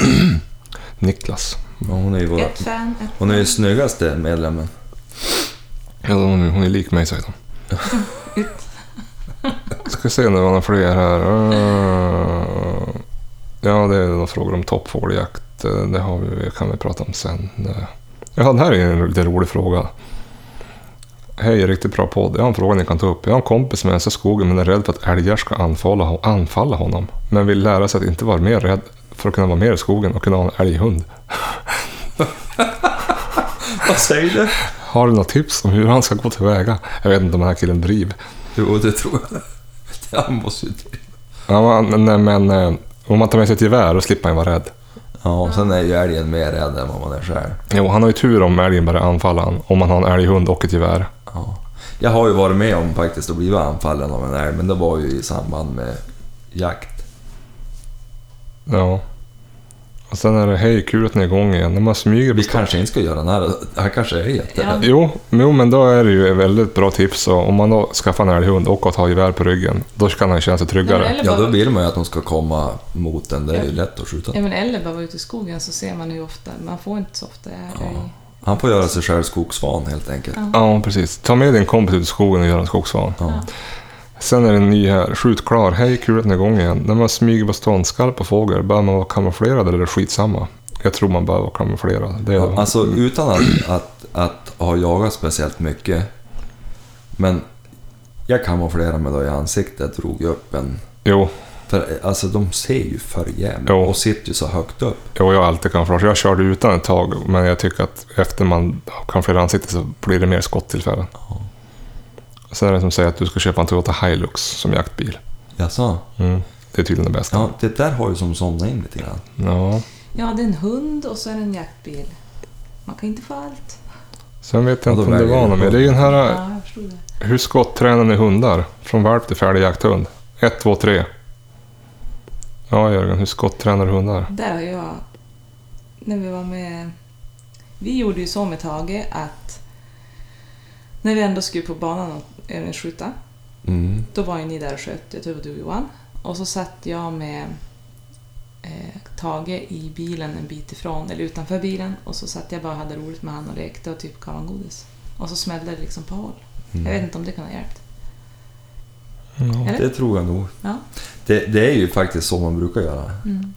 Speaker 1: Niklas.
Speaker 2: Ja, hon är ju vår...
Speaker 3: Ett fan, ett
Speaker 2: Hon är ju snyggaste medlemmen.
Speaker 1: Ja, hon, hon är lik mig, säger de.
Speaker 3: ut.
Speaker 1: Ska se nu vad några fler här. Eh, Ja, det är några frågor om toppfågeljakt. Eh, Det har vi, kan vi prata om sen. Eh, Ja, det här är en lite rolig fråga. Hej, riktigt bra podd. Jag har en fråga ni kan ta upp. Jag har en kompis som ensar i skogen men är rädd för att älgar ska anfalla, anfalla honom. Men vill lära sig att inte vara mer rädd för att kunna vara mer i skogen och kunna ha en älghund.
Speaker 2: Vad säger du?
Speaker 1: Har du några tips om hur han ska gå tillväga? Jag vet inte om den här killen driver.
Speaker 2: Jo, det tror jag. Det han måste ju...
Speaker 1: Ja, men, nej, men eh, om man tar med sig ett gevär då slipper han vara rädd.
Speaker 2: Ja, och sen är ju älgen mer rädd än vad man är själv.
Speaker 1: Jo, han har ju tur om älgen börjar anfalla han, om man har en älghund och ett gevär.
Speaker 2: Ja. Jag har ju varit med om faktiskt att bli anfallen av en älg, men det var ju i samband med jakt.
Speaker 1: Ja. Och sen är det, hej, kul att ni är igång igen. När man smyger...
Speaker 2: Vi
Speaker 1: Bestäm-
Speaker 2: kanske inte ska göra den här. Han kanske är jätterädd.
Speaker 1: jo, jo, men då är det ju ett väldigt bra tips. Så om man då skaffar en älghund och att ha gevär på ryggen, då kan han känna sig
Speaker 3: Nej,
Speaker 1: tryggare.
Speaker 3: men eller,
Speaker 2: Ja, då
Speaker 3: bara,
Speaker 2: vill man ju att de ska komma mot den. Det är ju lätt att skjuta.
Speaker 3: ja, men eller bara vara ute i skogen så ser man hur ofta. Man får inte så ofta älg.
Speaker 2: Han får göra sig själv skogsvan helt enkelt.
Speaker 1: Ja, precis. Ta med din kompis ut i skogen och gör en skogsvan.
Speaker 2: Ja.
Speaker 1: Sen är det en ny här. Skjut klar. Hej, kul att ni är igång igen. När man smyger på ståndskarpa fågel, bör man vara kamouflerad eller är det skitsamma? Jag tror man bör vara kamouflerad. Det är
Speaker 2: Ja, Alltså utan att, att, att ha jagat speciellt mycket. Men jag kamouflerade mig då i ansiktet, drog upp en...
Speaker 1: Jo,
Speaker 2: För alltså de ser ju för jävligt
Speaker 1: Jo.
Speaker 2: och sitter ju så högt upp.
Speaker 1: jo, jag har alltid kamouflage. Jag körde utan ett tag, men jag tycker att efter man har kamouflerat ansiktet så blir det mer skottillfällen. Sen är det som säger att du ska köpa en Toyota Hilux som jaktbil.
Speaker 2: Jaså?
Speaker 1: Mm. Det är tydligen det bästa.
Speaker 2: Ja, det där har ju som somnat in lite grann.
Speaker 1: ja.
Speaker 3: Ja, det är en hund och så är det en jaktbil. Man kan inte få allt.
Speaker 1: Sen vet
Speaker 2: Ja,
Speaker 1: jag
Speaker 2: då
Speaker 1: inte om det
Speaker 2: väger
Speaker 1: var
Speaker 2: det
Speaker 1: något
Speaker 2: på.
Speaker 1: mer. Det är ju den här...
Speaker 3: Ja, jag förstod det.
Speaker 1: Hur skottränar ni hundar? Från valp till färdig jakthund. 1, 2, 3. Ja, Jörgen, hur skottränar du hundar?
Speaker 3: Där har jag... När vi var med... Vi gjorde ju så med Tage att när vi ändå skulle på banan och övningsskjuta,
Speaker 2: Mm.
Speaker 3: då var ju ni där och sköt. Jag tror det var du och Johan. Och så satt jag med eh, Tage i bilen en bit ifrån, eller utanför bilen. Och så satt jag bara och hade roligt med han och lekte och typ gav han godis. Och så smällde det liksom på håll.
Speaker 2: mm.
Speaker 3: Jag vet inte om det kan ha hjälpt.
Speaker 2: Det tror jag nog.
Speaker 3: Ja.
Speaker 2: Det, det är ju faktiskt så man brukar göra.
Speaker 3: Mm.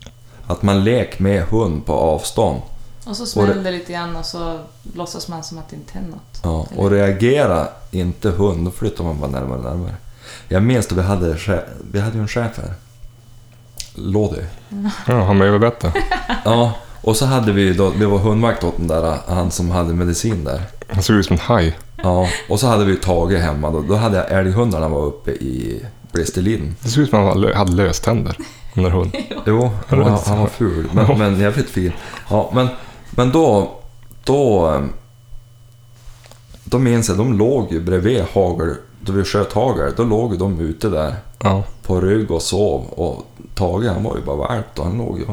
Speaker 2: Att man lek med hund på avstånd.
Speaker 3: Och så smällde det lite grann och så låtsas man som att det inte händer något.
Speaker 2: Ja, och reagera inte hund, då flyttar man bara närmare och närmare. Jag minns då vi hade, che- vi hade ju en chef här. Lodi.
Speaker 1: Ja, har man överbete?
Speaker 2: Ja, och så hade vi då, det var hundvakt åt den där, han som hade medicin där.
Speaker 1: Han såg ut som en haj.
Speaker 2: Ja, och så hade vi Tage hemma då. Då hade jag älghundarna var uppe i Blisterliden.
Speaker 1: Det såg ut som att han var- hade löständer under hund.
Speaker 2: Jo, han var, han var ful, men, men jävligt fin. Ja, men, men då, då... eh, Då minns jag, de låg ju bredvid hagel, då vi sköt hagel, då låg ju de ute där
Speaker 1: Ja.
Speaker 2: på rygg och sov. Och Tage han var ju bara valp då, han låg ju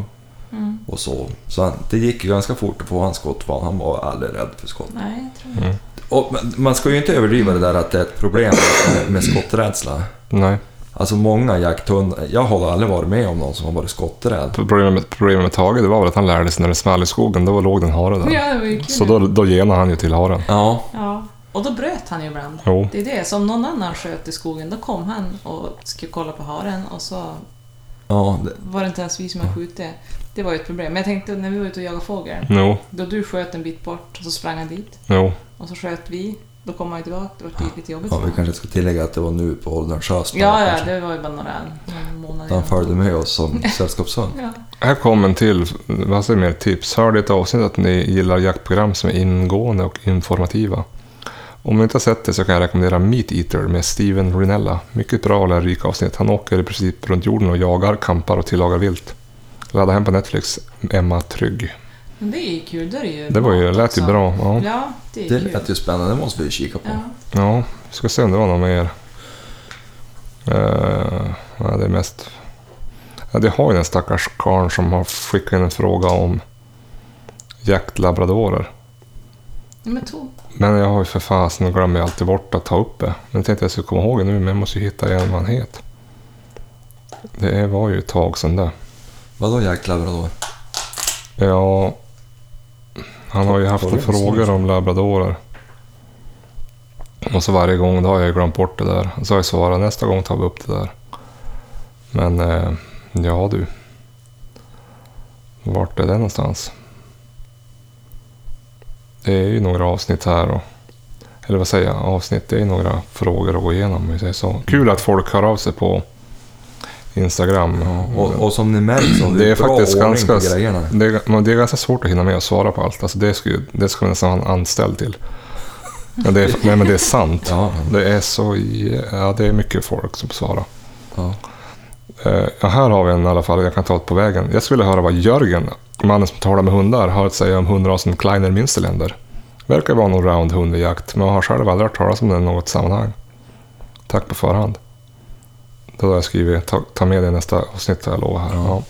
Speaker 3: Mm.
Speaker 2: och sov. Så han, det gick ju ganska fort att få hans skottvan, han var aldrig rädd för skott.
Speaker 3: Nej, jag tror inte.
Speaker 2: Och, men man ska ju inte överdriva det där att det är ett problem med, med skotträdsla.
Speaker 1: Nej.
Speaker 2: Alltså många jakthundar, jag har aldrig varit med om någon som har varit skotträdd.
Speaker 1: Problemet med, problemet med Tage det var väl att han lärde sig när det small i skogen. Då låg den hare där.
Speaker 3: Ja, det var ju kul.
Speaker 1: Mm. Så då, då genade han ju till haren.
Speaker 2: Ja,
Speaker 3: Ja, och då bröt han ju ibland.
Speaker 1: Jo.
Speaker 3: Det är det, som någon annan sköt i skogen, då kom han och skulle kolla på haren och så
Speaker 2: ja det,
Speaker 3: var det inte ens vi som hade skjutit. Det var ju ett problem. Men jag tänkte när vi var ute och jagade fågel,
Speaker 1: Jo,
Speaker 3: då du sköt en bit bort och så sprang han dit
Speaker 1: jo.
Speaker 3: och så sköt vi, då kom han ju tillbaka. Det var lite jobbigt
Speaker 2: Ja,
Speaker 3: för
Speaker 2: vi
Speaker 3: honom.
Speaker 2: kanske ska tillägga att det var nu på ålderns höst.
Speaker 3: Ja, ja,
Speaker 2: kanske.
Speaker 3: det var ju bara några någon månader.
Speaker 2: Han följde med oss som sällskapshund.
Speaker 3: Ja.
Speaker 1: Här kom en till. Vad säger mer tips? Hörde i ett avsnitt att ni gillar jaktprogram som är ingående och informativa. Om ni inte har sett det så kan jag rekommendera Meat Eater med Steven Rinella. Mycket bra och lärorikt avsnitt. Han åker i princip runt jorden och jagar, kampar och tillagar vilt. Ladda hem på Netflix. Emma Trygg.
Speaker 3: Men det är ju kul, då är det ju
Speaker 1: Det var ju,
Speaker 3: mat
Speaker 1: lät ju
Speaker 3: också.
Speaker 1: bra. Ja.
Speaker 3: Ja, det är
Speaker 2: Det
Speaker 3: kul.
Speaker 2: lät ju spännande, det måste vi ju kika på.
Speaker 3: Ja.
Speaker 1: ja, vi ska se om det var någon mer. Uh, ja, det är mest... Ja, det har ju den stackars karln som har skickat in en fråga om jaktlabradorer.
Speaker 3: Men to-
Speaker 1: Men jag har ju för fasen glömmer jag alltid bort att ta upp det. Men jag tänkte jag skulle komma ihåg det nu, men jag måste ju hitta igen vad han het. Det var ju ett tag sedan det.
Speaker 2: Vadå jaktlabrador?
Speaker 1: Ja, han har ju haft
Speaker 2: Var det
Speaker 1: frågor
Speaker 2: så?
Speaker 1: om labradorer. Och så varje gång då har jag ju glömt bort det där. Och så har jag svarat nästa gång tar vi upp det där. Men eh, ja du. Vart är det någonstans? Det är ju några avsnitt här och... Eller vad säger jag? Avsnitt, det är ju några frågor att gå igenom om vi säger så. Kul att folk hör av sig på Instagram.
Speaker 2: Och, och som ni märker så har vi
Speaker 1: Det är
Speaker 2: bra
Speaker 1: faktiskt
Speaker 2: ordning
Speaker 1: ganska,
Speaker 2: på grejerna.
Speaker 1: det är, men det är ganska svårt att hinna med att svara på allt. Alltså det, ska, ju- det ska man nästan ha en anställd till. Men det är, nej, men det är sant.
Speaker 2: Ja,
Speaker 1: Det är så jä- ja, det är mycket folk som svarar.
Speaker 2: ja.
Speaker 1: Eh, ja, här har vi en i alla fall, jag kan ta ett på vägen. Jag skulle vilja höra vad Jörgen, mannen som talar med hundar, har att säga om hundrasen Kleiner Münsterländer. Verkar vara en allround hund i jakt, men jag har själv aldrig hört talas om den i något sammanhang. Tack på förhand. Då har jag skrivit, ta, ta med det i nästa avsnitt har jag lovat här. Ja.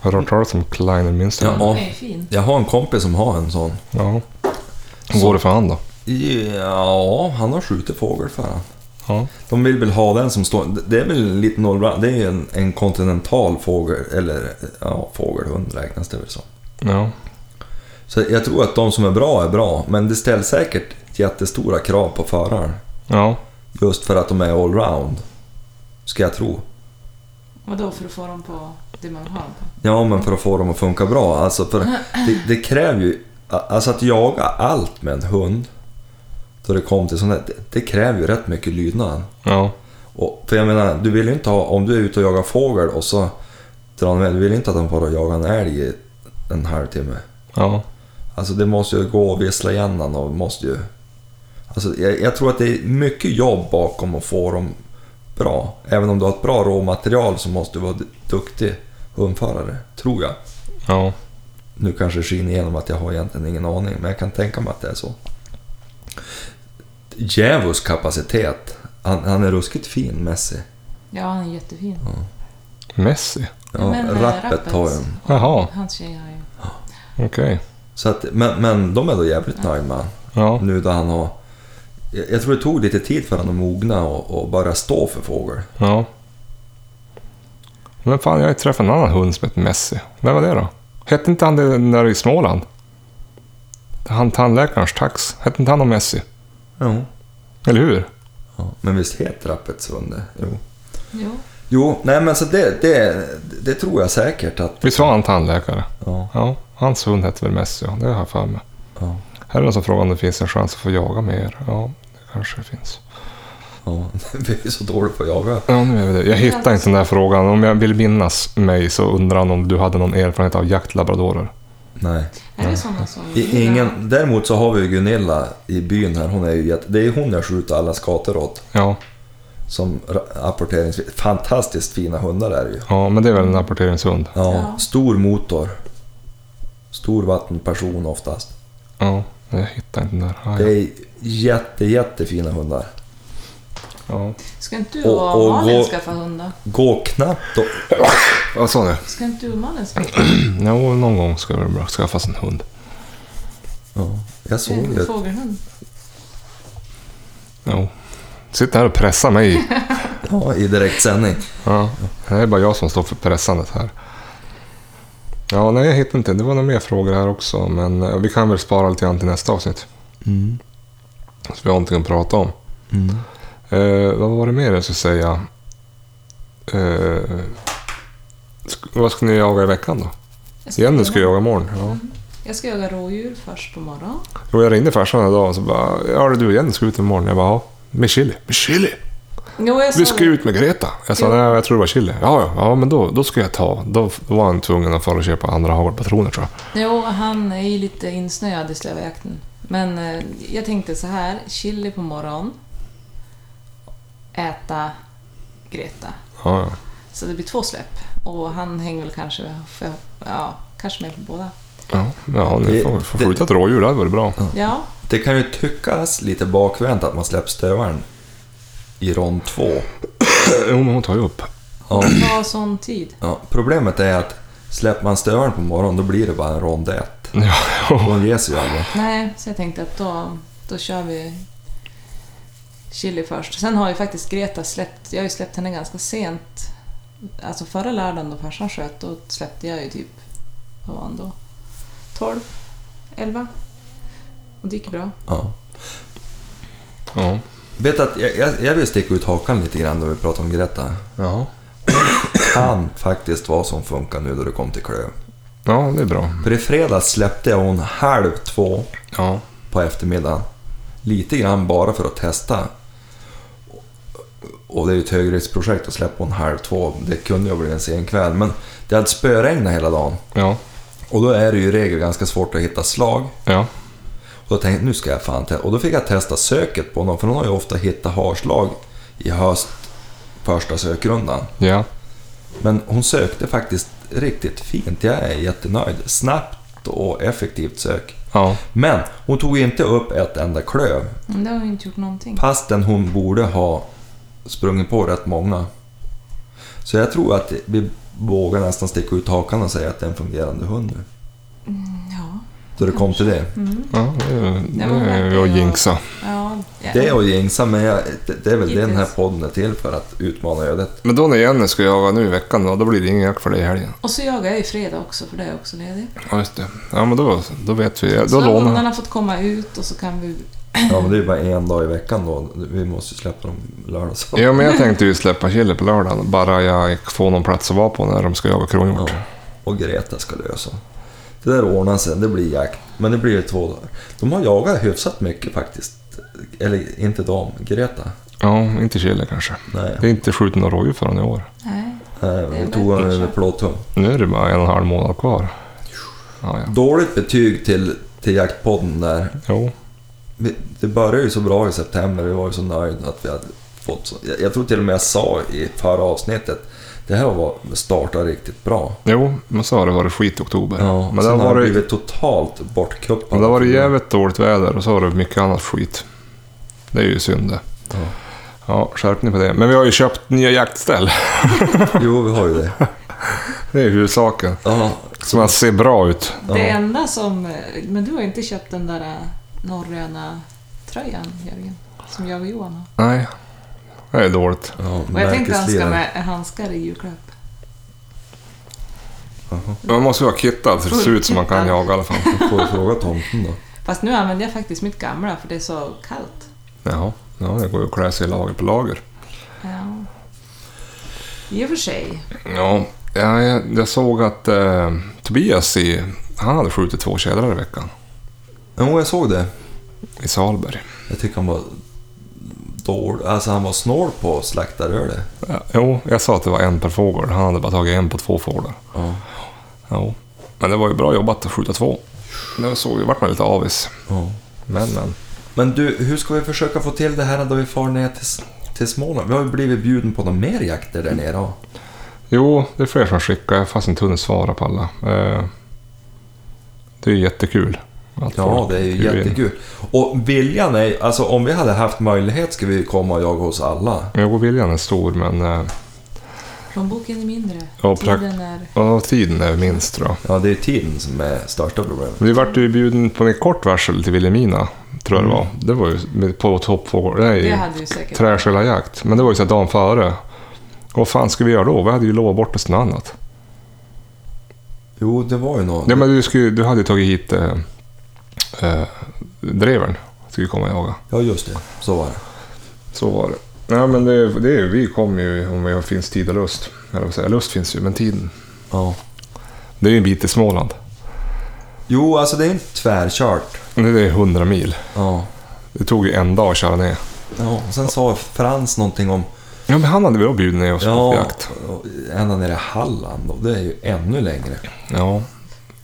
Speaker 1: Har du hört talas om Kleiner Münsterländer?
Speaker 2: Ja.
Speaker 3: Det är fint.
Speaker 2: Jag har en kompis som har en sån.
Speaker 1: Ja. Hur går det för han då?
Speaker 2: Ja, han har skjutit fågel för han.
Speaker 1: Ja.
Speaker 2: De vill väl ha den som står... Det är väl en liten allround. Det är en, en kontinental fågel, eller ja, fågelhund räknas det väl som.
Speaker 1: ja.
Speaker 2: Så jag tror att de som är bra är bra, men det ställs säkert jättestora krav på föraren.
Speaker 1: Ja.
Speaker 2: Just för att de är allround, ska jag tro.
Speaker 3: Vadå för att få dem på det man har dem på?
Speaker 2: Ja, men för att få dem att funka bra. Alltså, för det, det kräver ju... Alltså att jaga allt med en hund, då det kom till sånt där, det, det kräver ju rätt mycket lydnad.
Speaker 1: Ja.
Speaker 2: Och, för jag menar, du vill ju inte ha... Om du är ute och jagar fågel och så drar den med, du vill inte att den får jaga en älg i en halvtimme.
Speaker 1: Ja.
Speaker 2: Alltså det måste ju gå och vissla igen den och måste ju... Alltså jag, jag tror att det är mycket jobb bakom att få dem bra. Även om du har ett bra råmaterial så måste du vara du- duktig hundförare, tror jag.
Speaker 1: Ja.
Speaker 2: Nu kanske det skiner igenom att jag har egentligen ingen aning, men jag kan tänka mig att det är så. Djävulsk kapacitet. Han, han är ruskigt fin, Messi.
Speaker 3: Ja, han är jättefin.
Speaker 1: Messi.
Speaker 2: Ja,
Speaker 3: Men, eh,
Speaker 2: rappet har ju...
Speaker 1: Jaha.
Speaker 3: Hans tjej har ju...
Speaker 1: Okej.
Speaker 2: Så att, men, men de är då jävligt nöjda med han.
Speaker 1: Ja.
Speaker 2: Nu då han har... Jag jag tror det tog lite tid för honom att mogna och, och börja stå för fågel.
Speaker 1: Ja. Men fan, jag har ju träffat en annan hund som heter Messi. Vem var det då? Hette inte han det när i Småland? Han tandläkarens tax. Hette inte han om Messi?
Speaker 2: Jo.
Speaker 1: Eller hur?
Speaker 2: Ja, men visst heter rappets under? Jo.
Speaker 3: Jo.
Speaker 2: Jo, nej men så det, det, det tror jag säkert att...
Speaker 1: Visst var han tandläkare?
Speaker 2: Ja,
Speaker 1: Ja, hans hund hette väl Messi, ja. Det har jag för mig.
Speaker 2: ja,
Speaker 1: Här är någon som frågar om det finns en chans att få jaga med er. Ja, det kanske finns.
Speaker 2: ja. Vi är så dåliga på att jaga.
Speaker 1: Ja, nu är vi det. Jag hittar inte den där frågan. Om jag vill minnas mig så undrar han om du hade någon erfarenhet av jaktlabradorer.
Speaker 2: Nej.
Speaker 3: Är det sådana som...
Speaker 2: I, ingen, däremot så har vi ju Gunilla i byn här. Hon är ju jätte, det är ju hon jag skjuter alla skator åt.
Speaker 1: Ja,
Speaker 2: Som ra- apporterings... Fantastiskt fina hundar är det ju.
Speaker 1: ja, men det är väl en rapporteringshund.
Speaker 2: Ja,
Speaker 3: Ja.
Speaker 2: stor motor. Stor vattenperson oftast.
Speaker 1: Ja, jag hittar inte den där. Ah, ja.
Speaker 2: Det är jätte, jättefina hundar.
Speaker 1: Ja.
Speaker 3: Ska inte du
Speaker 2: Och-
Speaker 3: och,
Speaker 2: och
Speaker 3: Malin
Speaker 2: gå-
Speaker 3: skaffa hund då?
Speaker 2: Går knappt att
Speaker 1: Vad sa du?
Speaker 3: Ska inte du och Malin skaffa
Speaker 1: Jo, någon gång ska det väl bra skaffas en hund.
Speaker 2: Ja, jag såg
Speaker 3: en
Speaker 2: det.
Speaker 3: fågelhund?
Speaker 1: Jo. Sitter här och pressar mig.
Speaker 2: Ja, I direktsändning.
Speaker 1: Ja, det är bara jag som står för pressandet här. Ja, nej, jag hittar inte. Det var några mer frågor här också, men eh, vi kan väl spara lite grann till nästa avsnitt.
Speaker 2: Mm.
Speaker 1: Så vi har någonting att prata om. Eh, vad var det mer jag skulle säga? Eh, sk- vad ska ni jaga i veckan då?
Speaker 3: Jag
Speaker 1: Jenny
Speaker 3: jaga-
Speaker 1: ska jaga imorgon. Ja.
Speaker 3: Jag ska jaga rådjur först på morgonen.
Speaker 1: Jo, jag ringde farsan idag och så bara, ja du och Jenny ska ut imorgon. Jag bara, ja. Med chili. Med chili?
Speaker 3: Jo, jag sa
Speaker 1: Vi ska
Speaker 3: det.
Speaker 1: ut med Greta. Jag sa,
Speaker 3: Jo.
Speaker 1: nej, jag tror det var chili. Ja, ja, ja men då, då ska jag ta. Då var han tvungen att fara och köpa andra hagelpatroner tror jag.
Speaker 3: Jo, han är ju lite insnöad i slöjakten. Men eh, jag tänkte så här, chili på morgonen. Äta Greta.
Speaker 1: Ja, ja.
Speaker 3: Så det blir två släpp. Och han hänger väl kanske, för, ja, kanske med på båda.
Speaker 1: Ja, ja ni
Speaker 2: Det-
Speaker 1: får, får
Speaker 2: det-
Speaker 1: skjuta ett rådjur, det hade varit bra.
Speaker 3: Ja,
Speaker 2: Det kan ju tyckas lite bakvänt att man släpper stövaren i rond två.
Speaker 1: Jo, men hon tar ju upp.
Speaker 2: Ja,
Speaker 3: ta sån tid.
Speaker 2: ja. Problemet är att släpper man stövaren på morgonen då blir det bara en rond ett.
Speaker 1: Ja, ja.
Speaker 2: Hon ger sig ju aldrig.
Speaker 3: Nej, så jag tänkte att då, då kör vi chili först. Sen har ju faktiskt Greta släppt, jag har ju släppt henne ganska sent. Alltså förra lördagen då farsan sköt, då släppte jag ju typ, vad var han då? 12? 11? Och det gick bra.
Speaker 2: Ja.
Speaker 1: ja.
Speaker 2: Vet du att jag, jag, jag vill sticka ut hakan lite grann när vi pratar om Greta.
Speaker 1: ja.
Speaker 2: Kan faktiskt vara som funkar nu då det kom till klöv.
Speaker 1: Ja, det är bra.
Speaker 2: För i fredags släppte jag hon halv två
Speaker 1: Ja.
Speaker 2: på eftermiddagen. Lite grann bara för att testa. Och det är ju ett högriskprojekt att släppa en halv två. Det kunde ju bli en sen kväll. Men det hade spöregnat hela dagen.
Speaker 1: Ja.
Speaker 2: Och då är det ju i regel ganska svårt att hitta slag.
Speaker 1: Ja.
Speaker 2: Och då tänkte jag, nu ska jag fan testa. Och då fick jag testa söket på honom. För hon har ju ofta hittat harslag i höst, första sökrundan.
Speaker 1: Ja.
Speaker 2: Men hon sökte faktiskt riktigt fint. Jag är jättenöjd. Snabbt och effektivt sök.
Speaker 1: Ja.
Speaker 2: Men hon tog inte upp ett enda klöv.
Speaker 3: Men det har ju inte gjort någonting.
Speaker 2: Fastän hon borde ha sprungit på rätt många. Så jag tror att vi vågar nästan sticka ut hakan och säga att det är en fungerande hund nu.
Speaker 3: Ja,
Speaker 2: Så det kom till det.
Speaker 1: ja. Det,
Speaker 3: men hon
Speaker 1: det är
Speaker 3: verkar
Speaker 1: ju att
Speaker 3: ju-
Speaker 1: jinxa.
Speaker 3: ja Ja, ja.
Speaker 2: Det och jinxa, men jag, det, det är väl det den här
Speaker 3: Hittills.
Speaker 2: podden är till för, att utmana ödet.
Speaker 1: Men då när Jenny ska jaga nu i veckan då, då blir det ingen jakt för dig i helgen.
Speaker 3: Och så jagar jag ju fredag också, för det är jag också ledig.
Speaker 1: Ja, just det. Ja, men då, då vet vi. Då
Speaker 3: så har
Speaker 1: lånar jag.
Speaker 3: hundarna fått komma ut och så kan vi...
Speaker 2: Ja, men det är ju bara en dag i veckan då. Vi måste ju släppa dem lördag och söndag.
Speaker 1: Ja, men jag tänkte ju släppa Chili på lördagen, bara jag får någon plats att vara på när de ska jaga kronhjort.
Speaker 2: Ja, och Greta ska lösa. Det där ordnar sig, det blir jakt. Men det blir ju två dagar. De har jagat hyfsat mycket faktiskt. Eller inte de, Greta.
Speaker 1: Ja, inte Chili kanske.
Speaker 2: Nej,
Speaker 1: Det är inte skjutit några rådjur förrän i år.
Speaker 3: Nej.
Speaker 2: Nej
Speaker 3: är
Speaker 2: hon tog honom
Speaker 3: bättre.
Speaker 2: med plåthund.
Speaker 1: Nu är det bara en och en halv månad kvar. Ja, ja.
Speaker 2: Dåligt betyg till, till jaktpodden där.
Speaker 1: Jo.
Speaker 2: Vi- Det började ju så bra i september, vi var ju så nöjda att vi hade fått så. jag- Jag tror till och med jag sa i förra avsnittet, det här var, startade riktigt bra.
Speaker 1: jo, men så har det varit skit i oktober.
Speaker 2: Ja,
Speaker 1: men det
Speaker 2: sen
Speaker 1: har
Speaker 2: har det
Speaker 1: varit,
Speaker 2: blivit totalt bortkuppad.
Speaker 1: men det har varit jävligt dåligt väder och så har det varit mycket annat skit. Det är ju synd det.
Speaker 2: Ja.
Speaker 1: Ja, skärpning på det. Men vi har ju köpt nya jaktställ.
Speaker 2: Jo, vi har ju det.
Speaker 1: Det är ju huvudsaken.
Speaker 2: Ja,
Speaker 1: Som att se bra ut.
Speaker 2: Ja.
Speaker 3: Det enda som... eh, Men du har inte köpt den där eh, norröna tröjan, Jörgen, som jag och Johan har.
Speaker 1: Nej, det är dåligt.
Speaker 2: ja,
Speaker 3: Och jag tänkte han ska
Speaker 2: märkeslirare.
Speaker 3: med handskar i julklapp.
Speaker 1: Man måste ju vara kittad så det ser ut som man kan
Speaker 3: Fullkittad.
Speaker 1: jaga i alla fall.
Speaker 2: Du får ju fråga tomten då.
Speaker 3: Fast nu använder jag faktiskt mitt gamla, för det är så kallt.
Speaker 1: Jaha, ja, det går ju att klä sig lager på lager.
Speaker 3: Ja. I och för sig.
Speaker 1: Ja, jag, jag såg att eh, Tobias i, han hade skjutit två tjädrar i veckan
Speaker 2: Jo, jag såg det.
Speaker 1: i Salberg.
Speaker 2: Jag tycker han var dålig. Alltså han var snål på slaktarölet.
Speaker 1: Ja, jo, jag sa att det var en per fågel. Han hade bara tagit en på två fåglar.
Speaker 2: Ja.
Speaker 1: Jo. Men det var ju bra jobbat att skjuta två. Det såg ju, vart man lite avis.
Speaker 2: ja.
Speaker 1: Men, men.
Speaker 2: Men du, hur ska vi försöka få till det här då vi far ner till, till Småland? Vi har ju blivit bjuden på några mer jakter där nere. ja.
Speaker 1: Jo, det är fler som skickar, fast inte hunnit svara på alla. Eh, det är ju jättekul. att
Speaker 2: Ja,
Speaker 1: folk
Speaker 2: det är ju
Speaker 1: skriver in.
Speaker 2: jättekul. Och viljan är, alltså om vi hade haft möjlighet skulle vi ju komma och jaga hos alla.
Speaker 1: Jo, viljan är stor, men eh,
Speaker 3: Plånboken är mindre.
Speaker 1: Ja, prakt-
Speaker 3: Tiden är...
Speaker 1: ja, tiden är minst då.
Speaker 2: Ja, det är tiden som är största problemet.
Speaker 1: Vi vart ju bjuden på med kort varsel till Vilhelmina, tror
Speaker 2: Mm.
Speaker 1: jag det var. Det var ju med- på toppfågel,
Speaker 3: Det
Speaker 1: nej,
Speaker 3: hade du säkert.
Speaker 1: träskällarjakt. Men det var ju så här dagen före. Och vad fan ska vi göra då? Vi hade ju lovat bort oss till något annat.
Speaker 2: Jo, det var ju något.
Speaker 1: Ja, men du, skulle, du hade ju tagit hit eh, eh, drevern, skulle vi komma och jaga.
Speaker 2: Ja, just det. Så var det.
Speaker 1: Så var det. Nej, men det, det, är- vi kommer ju om det finns tid och lust. Eller vad säger jag? Lust finns ju, men tiden.
Speaker 2: Ja.
Speaker 1: Det är ju en bit till Småland.
Speaker 2: Jo, alltså det är inte tvärkört.
Speaker 1: Det är 100 mil.
Speaker 2: Ja.
Speaker 1: Det tog ju en dag att köra ner.
Speaker 2: ja. Och sen sa Frans någonting om
Speaker 1: Ja, men han hade vi då bjudit ner oss på
Speaker 2: Ja,
Speaker 1: jakt.
Speaker 2: och ända nere i Halland och det är ju ännu längre.
Speaker 1: Ja.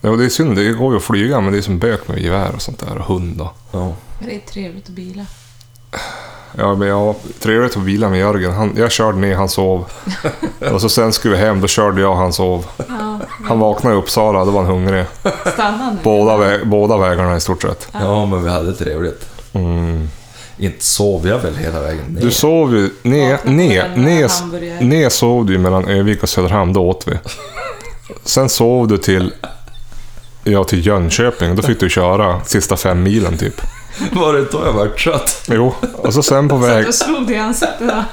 Speaker 1: ja. och Det är synd, det går ju att flyga, men det är som bök med gevär och sånt där och hund. Och.
Speaker 2: Ja.
Speaker 3: Men det är trevligt att bila.
Speaker 1: Ja, men jag trevligt att vila med Jörgen. Han, jag körde ner, han sov. och så sen skulle vi hem, då körde jag, han sov.
Speaker 3: Ja,
Speaker 1: Han vaknade i Uppsala, då var han hungrig.
Speaker 3: stanna nu.
Speaker 1: Båda, vä- båda vägarna i stort sett.
Speaker 2: ja, men vi hade trevligt.
Speaker 1: Mm.
Speaker 2: Inte sov jag väl hela vägen ner.
Speaker 1: Du sov ju... Ner,
Speaker 3: Vaknade
Speaker 1: ner,
Speaker 3: på en
Speaker 1: ner,
Speaker 3: hamburgare.
Speaker 1: ner sov du ju mellan Övik och Söderhamn, då åt vi. Sen sov du till... Ja, till Jönköping. Då fick du köra sista fem milen typ.
Speaker 2: Var det då jag var trött?
Speaker 1: Jo, och så sen på, väg,
Speaker 3: Satt och slog dig i ansiktet. va?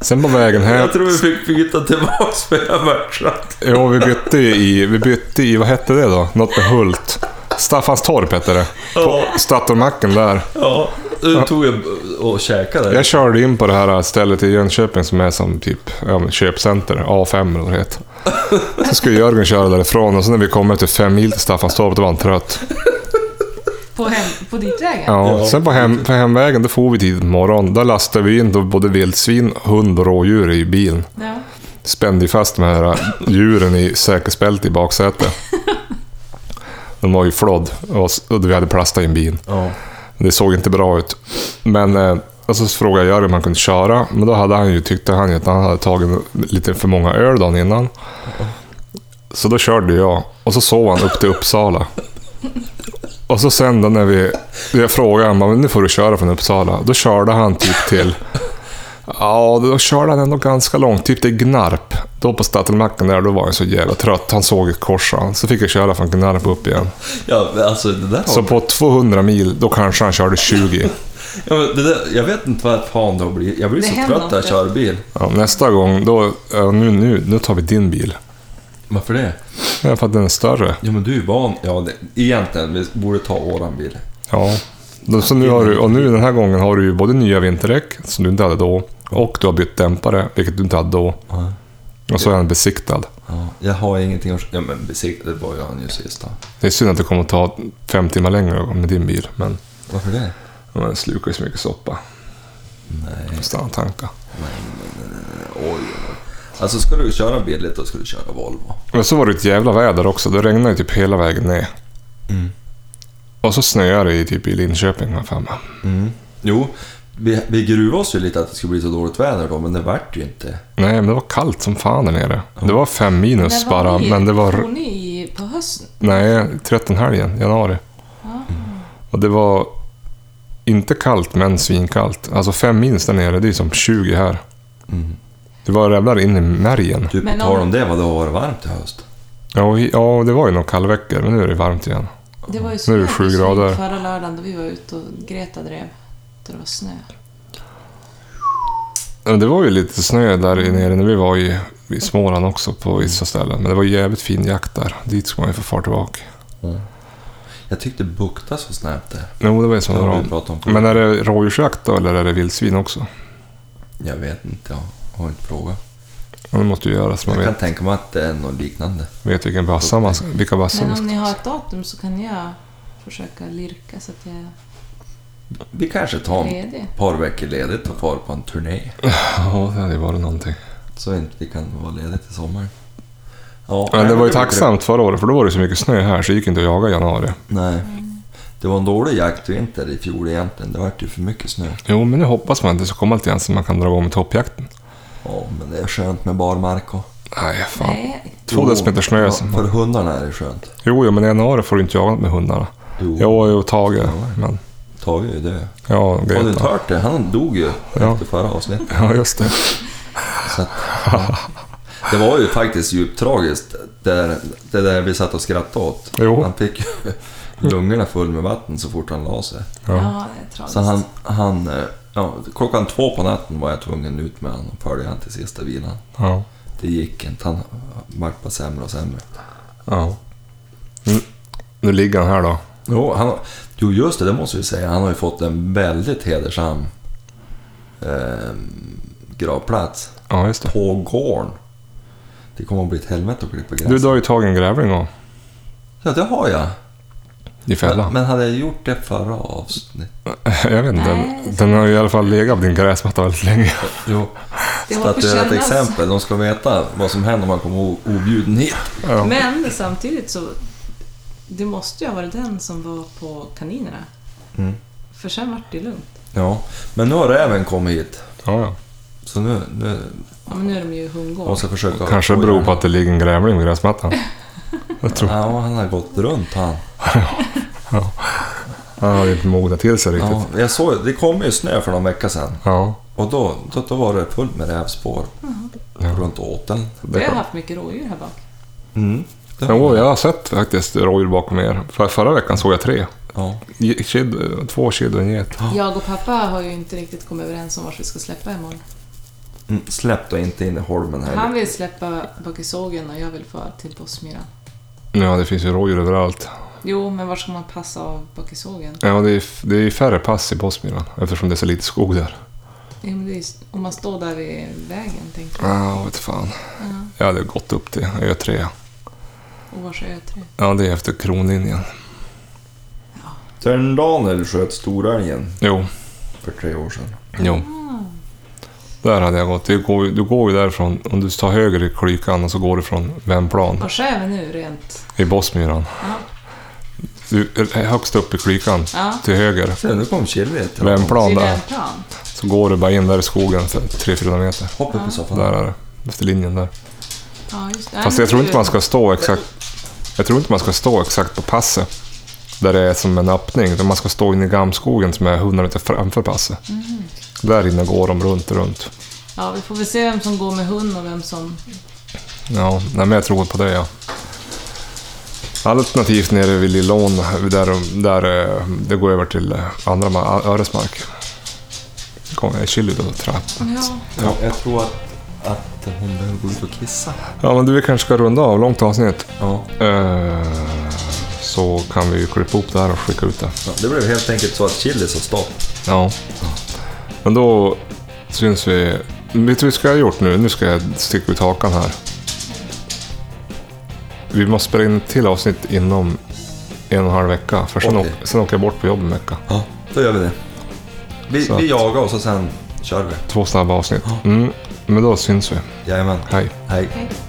Speaker 1: sen på vägen hem...
Speaker 2: Jag tror vi fick byta tillbaks för jag var trött.
Speaker 1: Jo, vi bytte ju i, vi bytte i, vad hette det då? Något med Hult. Staffanstorp hette det.
Speaker 2: Ja,
Speaker 1: Statoilmacken där.
Speaker 2: ja. Du tog jag och käkade.
Speaker 1: Jag körde in på det här stället i Jönköping som är som typ ja, men köpcenter, A5 eller vad det heter. Så skulle Jörgen köra därifrån och sen när vi kommer till fem mil till Staffanstorp, då var han trött.
Speaker 3: På, hem, på dit vägen?
Speaker 1: Ja,
Speaker 2: Ja.
Speaker 1: sen på, hem, på hemvägen, då får vi tidigt på morgonen. Där lastade vi in då både vildsvin, hund och rådjur i bilen.
Speaker 3: Ja.
Speaker 1: spände ju fast de här djuren i säkerhetsbälte i baksätet. De var ju flådd och s- och vi hade plastat in bin.
Speaker 2: Ja.
Speaker 1: Det såg inte bra ut. Men eh, och så frågade jag Jörgen om han kunde köra, men då hade han ju, tyckte han ju att han hade tagit lite för många öl dagen innan. Så då körde jag och så sov han upp till Uppsala. Och så sen då när vi... Jag frågade honom, "Men nu får du köra från Uppsala. Då körde han typ till... Ja, då körde han ändå ganska långt. Typ till Gnarp. Då på Statoilmacken där, då var han så jävla trött. Han såg ett kors. han. Så fick jag köra från Gnarp upp igen.
Speaker 2: ja, men alltså det där har...
Speaker 1: Så på 200 mil, då kanske han körde 20.
Speaker 2: Ja, men det där, jag vet inte vad fan det har blivit. Jag blir
Speaker 3: Det
Speaker 2: så
Speaker 3: händer
Speaker 2: trött när jag
Speaker 3: något.
Speaker 2: kör bil.
Speaker 1: Ja, nästa gång, då, ja, nu, nu, nu tar vi din bil.
Speaker 2: Varför det?
Speaker 1: Ja, för att den är större.
Speaker 2: Ja, men du är ju van. Ja, det, egentligen, vi borde ta våran bil.
Speaker 1: Ja. Då, så nu har du, och nu den här gången har du ju både nya vinterdäck, som du inte hade då, och du har bytt dämpare, vilket du inte hade då.
Speaker 2: Ja.
Speaker 1: Och så är den besiktad.
Speaker 2: Ja, jag har ingenting att... Ja, men besiktade var ju han ju sista.
Speaker 1: Det är synd att det kommer att ta fem timmar längre med din bil, men
Speaker 2: Varför det?
Speaker 1: den slukar ju så mycket soppa.
Speaker 2: Nej,
Speaker 1: Stanna och tanka.
Speaker 2: oj. Alltså, ska du köra billigt, då ska du köra Volvo.
Speaker 1: Men så var det ett jävla väder också. Det regnade ju typ hela vägen ner.
Speaker 2: Mm.
Speaker 1: Och så snöade det ju typ i Linköping, vad fan.
Speaker 2: Mm. Jo, vi, vi gruvade oss ju lite att det skulle bli så dåligt väder då, men det vart ju inte.
Speaker 1: Nej, men det var kallt som fan där nere. Det var fem minus
Speaker 3: När
Speaker 1: bara,
Speaker 3: ni-
Speaker 1: men det var...
Speaker 3: for ni på hösten?
Speaker 1: Nej, 13 helgen, januari. Och det var inte kallt, men svinkallt. Alltså fem minus där nere, det är som 20 här.
Speaker 2: Mm.
Speaker 1: Det var jävlar in i märgen.
Speaker 2: Typ,
Speaker 3: Men
Speaker 2: på tal
Speaker 3: om-
Speaker 2: om det, vad det har varit varmt i höst.
Speaker 1: Ja, och- ja, det var ju några kallveckor, men nu är det varmt igen.
Speaker 3: Det var ju
Speaker 1: Nu är det
Speaker 3: snö
Speaker 1: sju
Speaker 3: så
Speaker 1: grader.
Speaker 3: förra lördagen då vi var ute och Greta drev. Då det var snö.
Speaker 1: Men det var ju lite snö där nere när vi var i, i Småland också på vissa ställen. Men det var jävligt fin jakt där. Dit ska man ju få fart tillbaka.
Speaker 2: Jag tyckte bukta så snabbt där.
Speaker 1: Jo, det var ju så
Speaker 2: Det har
Speaker 1: bra.
Speaker 2: vi pratat om förut.
Speaker 1: Men är det rådjursjakt då, eller är det vildsvin också?
Speaker 2: Jag vet inte, jag har inte frågat.
Speaker 1: Ja, Det måste ju göras så
Speaker 2: Jag
Speaker 1: man
Speaker 2: kan
Speaker 1: vet,
Speaker 2: tänka mig att det är något liknande.
Speaker 1: vet vilken bassa man ska, vilka bassar
Speaker 3: Men
Speaker 1: man
Speaker 3: om
Speaker 1: ska...
Speaker 3: ni har ett datum så kan jag försöka lirka så att jag är
Speaker 2: Vi kanske tar ett
Speaker 3: ledig.
Speaker 2: par veckor ledigt och far på en turné.
Speaker 1: Ja, det hade ju varit någonting.
Speaker 2: Så inte vi kan vara lediga till sommaren. Ja,
Speaker 1: Men det var ju
Speaker 2: blir
Speaker 1: tacksamt förra året, för då var det så mycket snö här så det gick inte att jaga i januari.
Speaker 2: grymt. Nej. Det var en dålig jaktvinter i fjol egentligen. Det vart ju för mycket snö.
Speaker 1: Jo, men nu hoppas man att det ska komma lite grann så man kan dra igång med toppjakten.
Speaker 2: Ja, men det är skönt med barmark och...
Speaker 1: Nej, fan.
Speaker 3: Nej,
Speaker 1: Två
Speaker 2: Jo,
Speaker 1: decimeter snö.
Speaker 2: ja,
Speaker 1: som-
Speaker 2: För hundarna är det skönt.
Speaker 1: Jo, jo, men i januari får du inte jaga med hundarna.
Speaker 2: Jo,
Speaker 1: Jo, jo, Tage. Men,
Speaker 2: Tage är ju död.
Speaker 1: ja,
Speaker 2: Har du inte
Speaker 1: Greta.
Speaker 2: hört det? Han dog ju
Speaker 1: Ja.
Speaker 2: efter förra avsnittet.
Speaker 1: Ja, just det.
Speaker 2: Så att, ja. Det var ju faktiskt djupt tragiskt, det där, det där vi satt och skrattade åt.
Speaker 1: Jo.
Speaker 2: Han fick ju lungorna full med vatten så fort han la sig.
Speaker 1: Ja.
Speaker 3: ja, det är tragiskt.
Speaker 2: Så han, han, eh, ja, klockan två på natten var jag tvungen ut med honom och följde han till sista vilan.
Speaker 1: Ja.
Speaker 2: Det gick inte, han vart bara sämre och sämre.
Speaker 1: ja. Nu, nu ligger han här då.
Speaker 2: Jo, han, har- jo, just det, det måste vi säga. Han har ju fått en väldigt hedersam eh, gravplats
Speaker 1: Ja, just det.
Speaker 2: på gården. Det kommer att bli ett helvete att klippa gräs.
Speaker 1: Du, du har ju tagit en grävling då,
Speaker 2: Ja, det har jag.
Speaker 1: i
Speaker 2: Men,
Speaker 1: fällan.
Speaker 2: men hade jag gjort det förra avsnittet?
Speaker 1: Jag vet inte.
Speaker 3: Nej.
Speaker 1: Den har ju i alla fall legat på din gräsmatta väldigt länge.
Speaker 2: Jo,
Speaker 3: det
Speaker 2: så
Speaker 3: håller på
Speaker 2: att det är ett
Speaker 3: kännas.
Speaker 2: exempel. De ska veta vad som händer om man kommer o- objuden hit.
Speaker 1: Ja.
Speaker 3: Men samtidigt så, det måste ju ha varit den som var på kaninerna.
Speaker 2: Mm.
Speaker 3: För sen vart det lugnt.
Speaker 2: Ja, men nu har räven kommit hit.
Speaker 1: Ja, ja.
Speaker 2: Så nu... nu
Speaker 3: Ja, men nu är de ju hundgård.
Speaker 2: jag ska försöka...
Speaker 1: Kanske det beror på att det ligger en grävling på gräsmattan. Jag tror
Speaker 2: Ja, han har gått runt han.
Speaker 1: han har inte mognat till sig riktigt.
Speaker 2: Ja, jag såg, det kom ju snö för någon vecka sedan.
Speaker 1: Ja.
Speaker 2: Och då, då, då var det fullt med rävspår
Speaker 1: Ja.
Speaker 2: runt åteln.
Speaker 3: Vi har
Speaker 1: kan-
Speaker 3: haft mycket rådjur här bak.
Speaker 2: Mm. Det-
Speaker 1: Jo, jag har sett faktiskt rådjur bakom er. För, förra veckan såg jag tre.
Speaker 2: Ja.
Speaker 1: Ge- Kid, två kid och en get.
Speaker 3: Jag och pappa har ju inte riktigt kommit överens om vart vi ska släppa imorgon.
Speaker 2: Mm, släpp då inte in i holmen
Speaker 3: Han
Speaker 2: här.
Speaker 3: vill släppa bak i sågen och jag vill föra till Bossmyran.
Speaker 1: Ja, det finns ju rådjur överallt.
Speaker 3: Jo, men var ska man passa av bak i sågen?
Speaker 1: Ja, det är, det är färre pass i Bosmyran eftersom det är så lite skog där.
Speaker 3: Jo, men det är ju s- Om man står där vid vägen, tänker jag.
Speaker 1: Ja, vet fan.
Speaker 3: Ja.
Speaker 1: Jag hade gått upp till Ö 3.
Speaker 3: Och var ska jag tro?
Speaker 1: Ja, det är efter kronlinjen.
Speaker 2: Törn Daniel sköt storälgen
Speaker 1: Jo,
Speaker 2: för tre år sedan.
Speaker 1: jo. Där hade jag gått. Du går, ju- du går ju därifrån, om du tar höger i klykan och så går du från Vemplan
Speaker 3: Var är vi nu rent?
Speaker 1: i Bosmyran.
Speaker 3: Ja.
Speaker 1: Du, högst upp i klykan,
Speaker 3: Ja.
Speaker 1: till höger.
Speaker 2: Se, nu kom Chili. till honom.
Speaker 1: Vemplan
Speaker 3: Vid
Speaker 1: där.
Speaker 3: Vänplan?
Speaker 1: Så går du bara in där i skogen, så här, tre fyra meter.
Speaker 2: Hoppa upp i soffan.
Speaker 1: Där är det. Efter linjen där.
Speaker 3: Ja, just det.
Speaker 1: Fast jag tror inte man ska stå exakt... Jag tror inte man ska stå exakt på passet. Där det är som en öppning. utan Man ska stå inne i gamskogen som är 100 meter framför passet.
Speaker 3: Mm.
Speaker 1: Där inne går de runt, runt.
Speaker 3: Ja, vi får väl se vem som går med hund och vem som...
Speaker 1: Ja, nej, men jag tror på det ja. Alternativt nere vid Lillån, där, där eh, det går över till eh, andra ma- Öresmark. gången. Chili då, trapp.
Speaker 3: Ja.
Speaker 1: Ja.
Speaker 2: Jag tror att, att hon behöver gå ut och kissa.
Speaker 1: Ja, men du, vi kanske ska runda av. Långt avsnitt.
Speaker 2: Ja.
Speaker 1: Eh, så kan vi ju klippa ihop det här och skicka ut det.
Speaker 2: Ja, det blev helt enkelt så att Chili sa stopp.
Speaker 1: Ja. Men då syns vi. Vet du vad vi ska ha gjort nu? Nu ska jag sticka ut hakan här. Vi måste spela in ett till avsnitt inom en och en halv vecka. För sen,
Speaker 2: Okej.
Speaker 1: åk, sen åker jag bort på jobb en vecka.
Speaker 2: Ja, då gör vi det. Vi,
Speaker 1: Så att-
Speaker 2: vi jagar och så sen kör vi.
Speaker 1: Två snabba avsnitt. Mm. Men då syns vi.
Speaker 2: Jajamän.
Speaker 1: Hej.
Speaker 2: Hej.
Speaker 3: Hej.